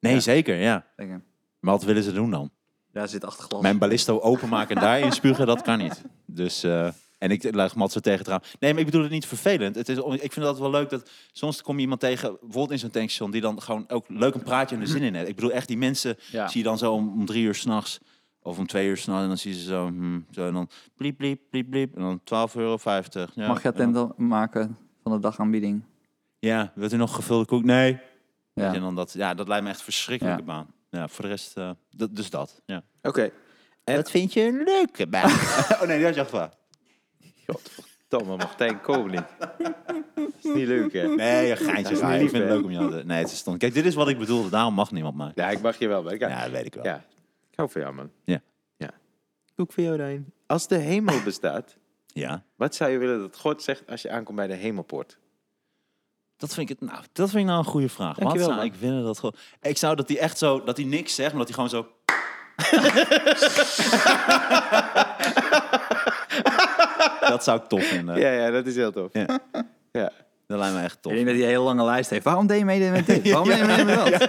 S1: Nee, zeker, ja.
S2: Denk ik.
S1: Maar wat willen ze doen dan?
S2: Daar zit achter glas.
S1: Mijn ballisto openmaken en daarin spugen, dat kan niet. Dus eh, En ik leg Matze tegen het raam. Nee, maar ik bedoel het niet vervelend. Het is, on- ik vind dat wel leuk dat soms kom je iemand tegen, bijvoorbeeld in zo'n tankstation, die dan gewoon ook leuk een praatje en er zin in heeft. Ik bedoel echt die mensen
S2: Ja.
S1: zie je dan zo om, om drie uur s'nachts of om twee uur s'nachts en dan zie je ze zo, hmm, zo en dan bliep, bliep, bliep, bliep en dan 12,50 euro. Ja,
S2: Mag je
S1: en dan-
S2: attent maken van de dagaanbieding?
S1: Ja, wilt u nog gevulde koek? Nee.
S2: Ja.
S1: En dan dat, ja, dat lijkt me echt een verschrikkelijke
S2: Ja.
S1: baan. Ja, voor de rest, eh, dat- dus dat. Ja.
S3: Oké. En-
S1: Wat vind je een leuke baan? oh nee, die had je al gevraagd.
S3: Godverdomme, Martijn, kom niet. Dat is niet leuk, hè?
S1: Nee, een geintje.
S3: is
S1: geintje. ik
S3: niet
S1: vind het
S3: hè?
S1: leuk om je aan te... Nee, het is stom. Kijk, dit is wat ik bedoelde. Daarom mag niemand mij.
S3: Ja, ik mag je wel, maar ik,
S1: Ja, dat weet ik wel.
S3: Ja, ik hou van jou, man.
S1: Ja.
S3: ja. Ook van jou, Rijn. Als de hemel bestaat,
S1: Ja.
S3: wat zou je willen dat God zegt als je aankomt bij de hemelpoort?
S1: Dat vind ik, het, nou, dat vind ik nou een goede vraag. Wat
S3: Dankjewel,
S1: zou
S3: man.
S1: ik willen dat gewoon... Ik zou dat hij echt zo... Dat hij niks zegt, maar dat hij gewoon zo... dat zou ik tof vinden.
S3: Ja, ja, dat is heel tof.
S1: Ja.
S3: Ja.
S1: Dat lijkt me echt tof.
S2: Ik denk dat hij een hele lange lijst heeft. Waarom deed je mee met dit? Waarom deed je mee met dat?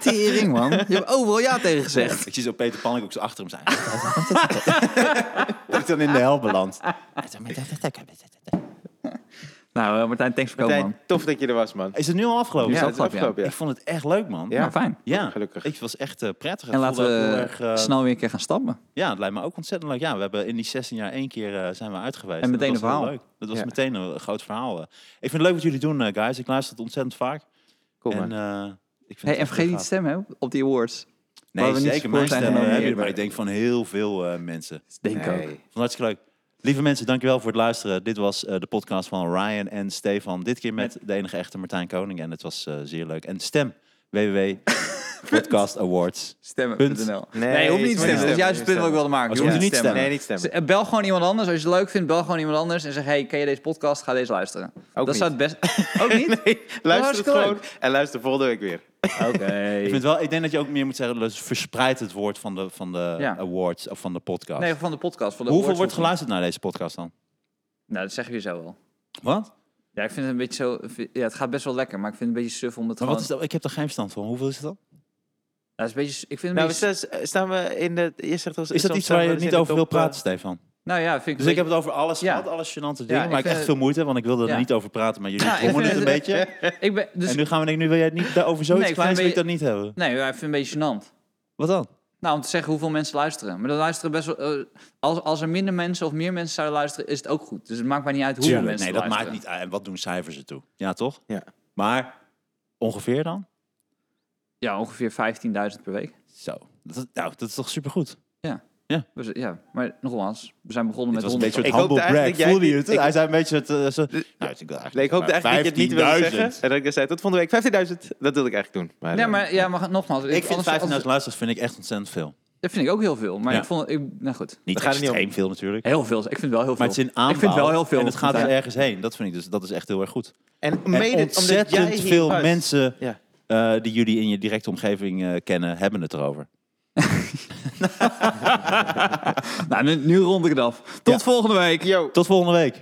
S2: Tering, man. Je hebt overal ja tegen gezegd.
S1: Ik zie zo Peter Pannink ook zo achter hem zijn. dat ik dan in de hel beland.
S2: Nou, eh, Martijn, thanks voor komen,
S3: Martijn,
S2: man.
S3: tof dat je er was, man.
S1: Is het nu al afgelopen?
S2: Ja,
S3: dat
S2: afgelopen, ja.
S1: Ik vond het echt leuk, man.
S3: Ja.
S2: Nou, fijn.
S1: Ja,
S3: Gelukkig.
S1: Ik was echt eh, prettig.
S2: En
S1: Ik
S2: laten
S1: voelde ook heel
S2: we
S1: erg, eh,
S2: snel weer een keer gaan stappen.
S1: Ja, het lijkt me ook ontzettend leuk. Ja, we hebben in die 16 jaar één keer eh, zijn we uit geweest. dat
S2: En meteen
S1: was
S2: een
S1: heel
S2: verhaal.
S1: Leuk. Dat was
S3: Ja.
S1: meteen een groot verhaal. eh. Ik vind het leuk wat jullie doen, eh, guys. Ik luister het ontzettend vaak.
S3: Kom
S1: en,
S3: maar.
S1: eh, ik vind
S2: Hey,
S1: het
S2: en
S1: echt
S2: vergeet
S1: heel
S2: niet te stemmen hè, op die awards.
S1: gaaf.
S2: waar
S1: Nee,
S2: we niet
S1: zeker.
S2: voor
S1: Mijn
S2: zijn
S1: stemmen eh, hebben jullie,
S2: genomineerd.
S1: maar ik denk van heel veel eh, mensen.
S2: Denk ik ook.
S3: Nee.
S1: Vond het hartstikke leuk. Lieve mensen, dankjewel voor het luisteren. Dit was eh, de podcast van Ryan en Stefan. Dit keer met de enige echte Martijn Koning. En het was eh, zeer leuk. En stem www.podcastawards.nl
S2: Stemmen.nl.
S3: Nee,
S2: Nee, je hoeft
S3: je
S2: niet te
S3: moet
S2: stemmen. Dat is
S3: niet
S2: juist het punt
S3: stemmen.
S2: wat ik wilde maken.
S1: Als
S2: Je
S1: je moet
S2: hoeft niet te
S1: niet
S2: stemmen.
S3: Nee, niet stemmen.
S2: Dus, eh, Bel gewoon iemand anders. Als je het leuk vindt, bel gewoon iemand anders. En zeg, hey, ken je deze podcast? Ga deze luisteren. dat
S3: niet.
S2: zou het best... Ook niet?
S3: Nee, luister het
S2: hartstikke
S3: gewoon en luister volgende week weer.
S2: Oké.
S1: Ik, vind wel, ik denk dat je ook meer moet zeggen, dus verspreid het woord van de, van de
S2: Ja.
S1: awards of van de podcast.
S2: Nee, van de podcast. Van de
S1: Hoeveel
S2: awards-
S1: wordt geluisterd naar deze podcast dan?
S2: Nou, dat zeg je zo wel.
S1: Wat?
S2: Ja, ik vind het een beetje zo... Ja, het gaat best wel lekker, maar ik vind het een beetje suf om het
S1: Maar
S2: gewoon...
S1: wat is dat? Ik heb er geen verstand van. Hoeveel is het dan?
S2: Ja, het is een beetje, ik vind het een
S3: Nou, we
S2: beetje...
S3: staan- staan we in de... Je zegt als,
S1: Is dat iets waar je niet over wil praten, Stefan?
S2: Nou eh, ja, vind ik...
S1: Dus ik heb het over alles
S2: Ja.
S1: gehad, alles gênante dingen,
S2: ik
S1: maar ik
S2: vind
S1: echt
S2: het-
S1: veel moeite, want ik wilde er
S2: Ja.
S1: niet over praten, maar jullie
S2: Ja, ik
S1: vermoeden
S2: vind
S1: het een
S2: het-
S1: beetje.
S2: Ik ben, dus,
S1: En nu gaan we denken, nu wil jij het niet over zoiets
S2: Nee, ik vind
S1: kleins, wil
S2: het
S1: ik dat niet hebben.
S2: Nee, ja, ik vind het een beetje gênant.
S1: Wat dan?
S2: Nou, om te zeggen hoeveel mensen luisteren. Maar dan luisteren best wel... eh, als, als er minder mensen of meer mensen zouden luisteren, is het ook goed. Dus het maakt mij niet uit hoeveel
S1: Tuurlijk,
S2: mensen
S1: nee, dat maakt
S2: luisteren.
S1: niet uit. En wat doen cijfers ertoe? Ja, toch?
S3: Ja.
S1: Maar ongeveer dan?
S2: Ja, ongeveer 15.000 per week.
S1: Zo. Dat, is- nou, dat is toch supergoed?
S2: Dus, ja, maar nogmaals, we zijn begonnen
S1: Het
S2: met
S1: was een
S2: 100...
S1: beetje het
S3: Ik hoopte
S1: humble brag.
S3: eigenlijk dat jij
S1: Voelde je
S3: niet-
S1: het?
S3: ik-
S1: Hij zei een beetje het... eh, zo- Nou, ik wil eigenlijk-
S3: Nee, ik hoopte eigenlijk dat je het niet wilde
S1: 15.000.
S3: zeggen. En dat ik dan zei, tot volgende week 15.000. Dat wilde ik eigenlijk doen. Maar,
S2: Ja,
S3: eh,
S2: maar, ja, maar nogmaals...
S1: Ik vind 15.000
S2: anders- anders-
S1: luisteraars vind ik echt ontzettend veel.
S2: Dat vind ik ook heel veel. Maar
S1: Ja.
S2: ik vond... Ik, nou goed.
S1: Niet
S3: gaat er niet om.
S1: extreem veel natuurlijk.
S2: Heel veel. Ik vind het wel heel veel.
S1: Maar het is in aanbouw.
S2: Ik vind het wel heel veel.
S1: En het gaat dus
S2: Ja.
S1: ergens heen. Dat vind ik dus, dat is echt heel erg goed.
S3: eh, En,
S1: En
S3: mede, omdat jij
S1: ontzettend
S3: hier
S1: veel
S3: was.
S1: mensen
S3: Ja.
S1: eh, die jullie in je directe omgeving eh, kennen, hebben het erover.
S2: Nou, nu, nu rond ik het af. Tot volgende week.
S3: Yo,
S1: Tot volgende week.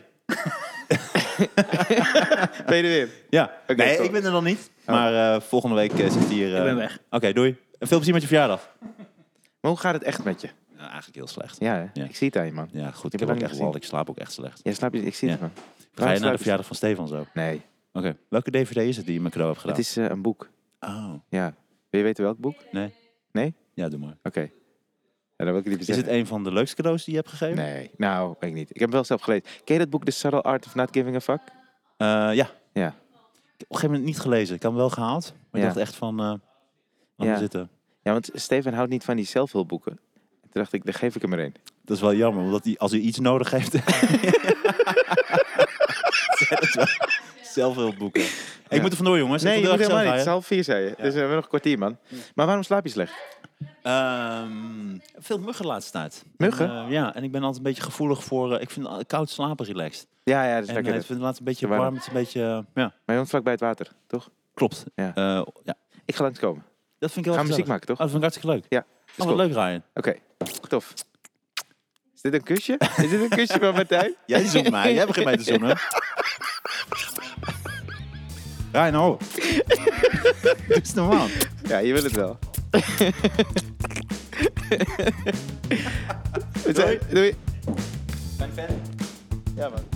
S3: ben je er weer?
S1: Ja.
S3: Oké,
S1: nee,
S3: top.
S1: ik ben er nog niet. Maar eh, volgende week eh, zit hier... eh,
S2: ben weg.
S1: Oké, doei. En veel plezier met je verjaardag.
S3: Maar hoe gaat het echt met je?
S1: Nou, eigenlijk heel slecht. Ja,
S3: Ja, hè?
S1: Ja.
S3: ik zie het aan je, man.
S1: goed.
S3: heb
S1: Ik,
S3: het
S1: heb
S3: lang
S1: ook
S3: niet
S1: echt
S3: gezien.
S1: lol. Ik slaap ook echt slecht.
S3: Ja, snap je? Ik zie
S1: Ja.
S3: het, man.
S1: Ga je
S3: Waarom
S1: naar de
S3: slaap je?
S1: verjaardag van Stefan zo? Oké.
S3: Nee,
S1: Welke DVD is het die je me cadeau hebt gedaan?
S3: het is eh, een boek.
S1: Oh,
S3: Ja. Wil je weten welk boek? Oké.
S1: nee.
S3: Nee?
S1: Ja, doe maar.
S3: Ja, dan wil ik het niet
S1: Is het
S3: zeggen.
S1: een van de leukste cadeaus die je hebt gegeven?
S3: Nee, nou, weet ik niet. Ik heb hem wel zelf gelezen. Ken je dat boek The Subtle Art of Not Giving a Fuck?
S1: Eh, ja. Ik
S3: Ja.
S1: heb op een gegeven moment niet gelezen. Ik heb hem wel gehaald. Maar ik
S3: Ja.
S1: dacht echt van... eh laat
S3: Ja.
S1: me zitten.
S3: Ja, want Steven houdt niet van die zelfhulpboeken. Toen dacht ik, daar geef ik hem er een.
S1: Dat is wel jammer, omdat die, als u iets nodig heeft... Zet het wel. zelf wil boeken. Ik moet er vandoor, jongens.
S3: Nee,
S1: ik
S3: je
S1: wil
S3: moet
S1: er echt
S3: helemaal
S1: zelf
S3: niet. Het is
S1: rijden.
S3: half vier, zei je. Dus we hebben nog een kwartier, man. Maar waarom slaap je slecht?
S1: Ehm, veel muggen laatst tijd.
S3: Muggen?
S1: En, eh, ja, en ik ben altijd een beetje gevoelig voor... eh, ik vind eh, koud slapen relaxed.
S3: Ja, ja, dat is
S1: En eh,
S3: lekker.
S1: ik vind het laatst een beetje
S3: Te warm.
S1: warm. Het is een beetje... eh, ja,
S3: Maar je woont vlak bij het water, toch?
S1: klopt.
S3: Ja.
S1: Eh, ja.
S3: Ik ga langskomen.
S1: Dat vind ik heel
S3: Gaan
S1: erg
S3: muziek
S1: gezellig.
S3: maken, toch?
S1: Oh, dat vind ik hartstikke leuk.
S3: Ja.
S1: Oh, wat leuk, Ryan.
S3: Oké, tof. Is dit een kusje? Is dit een kusje van Martijn?
S1: Jij zoekt mij. Jij begint mij te zoenen. Ryan, oh. Dit is normaal.
S3: Ja, je wil het wel. Doei. Doei.
S1: Zijn fan.
S3: Ja, man.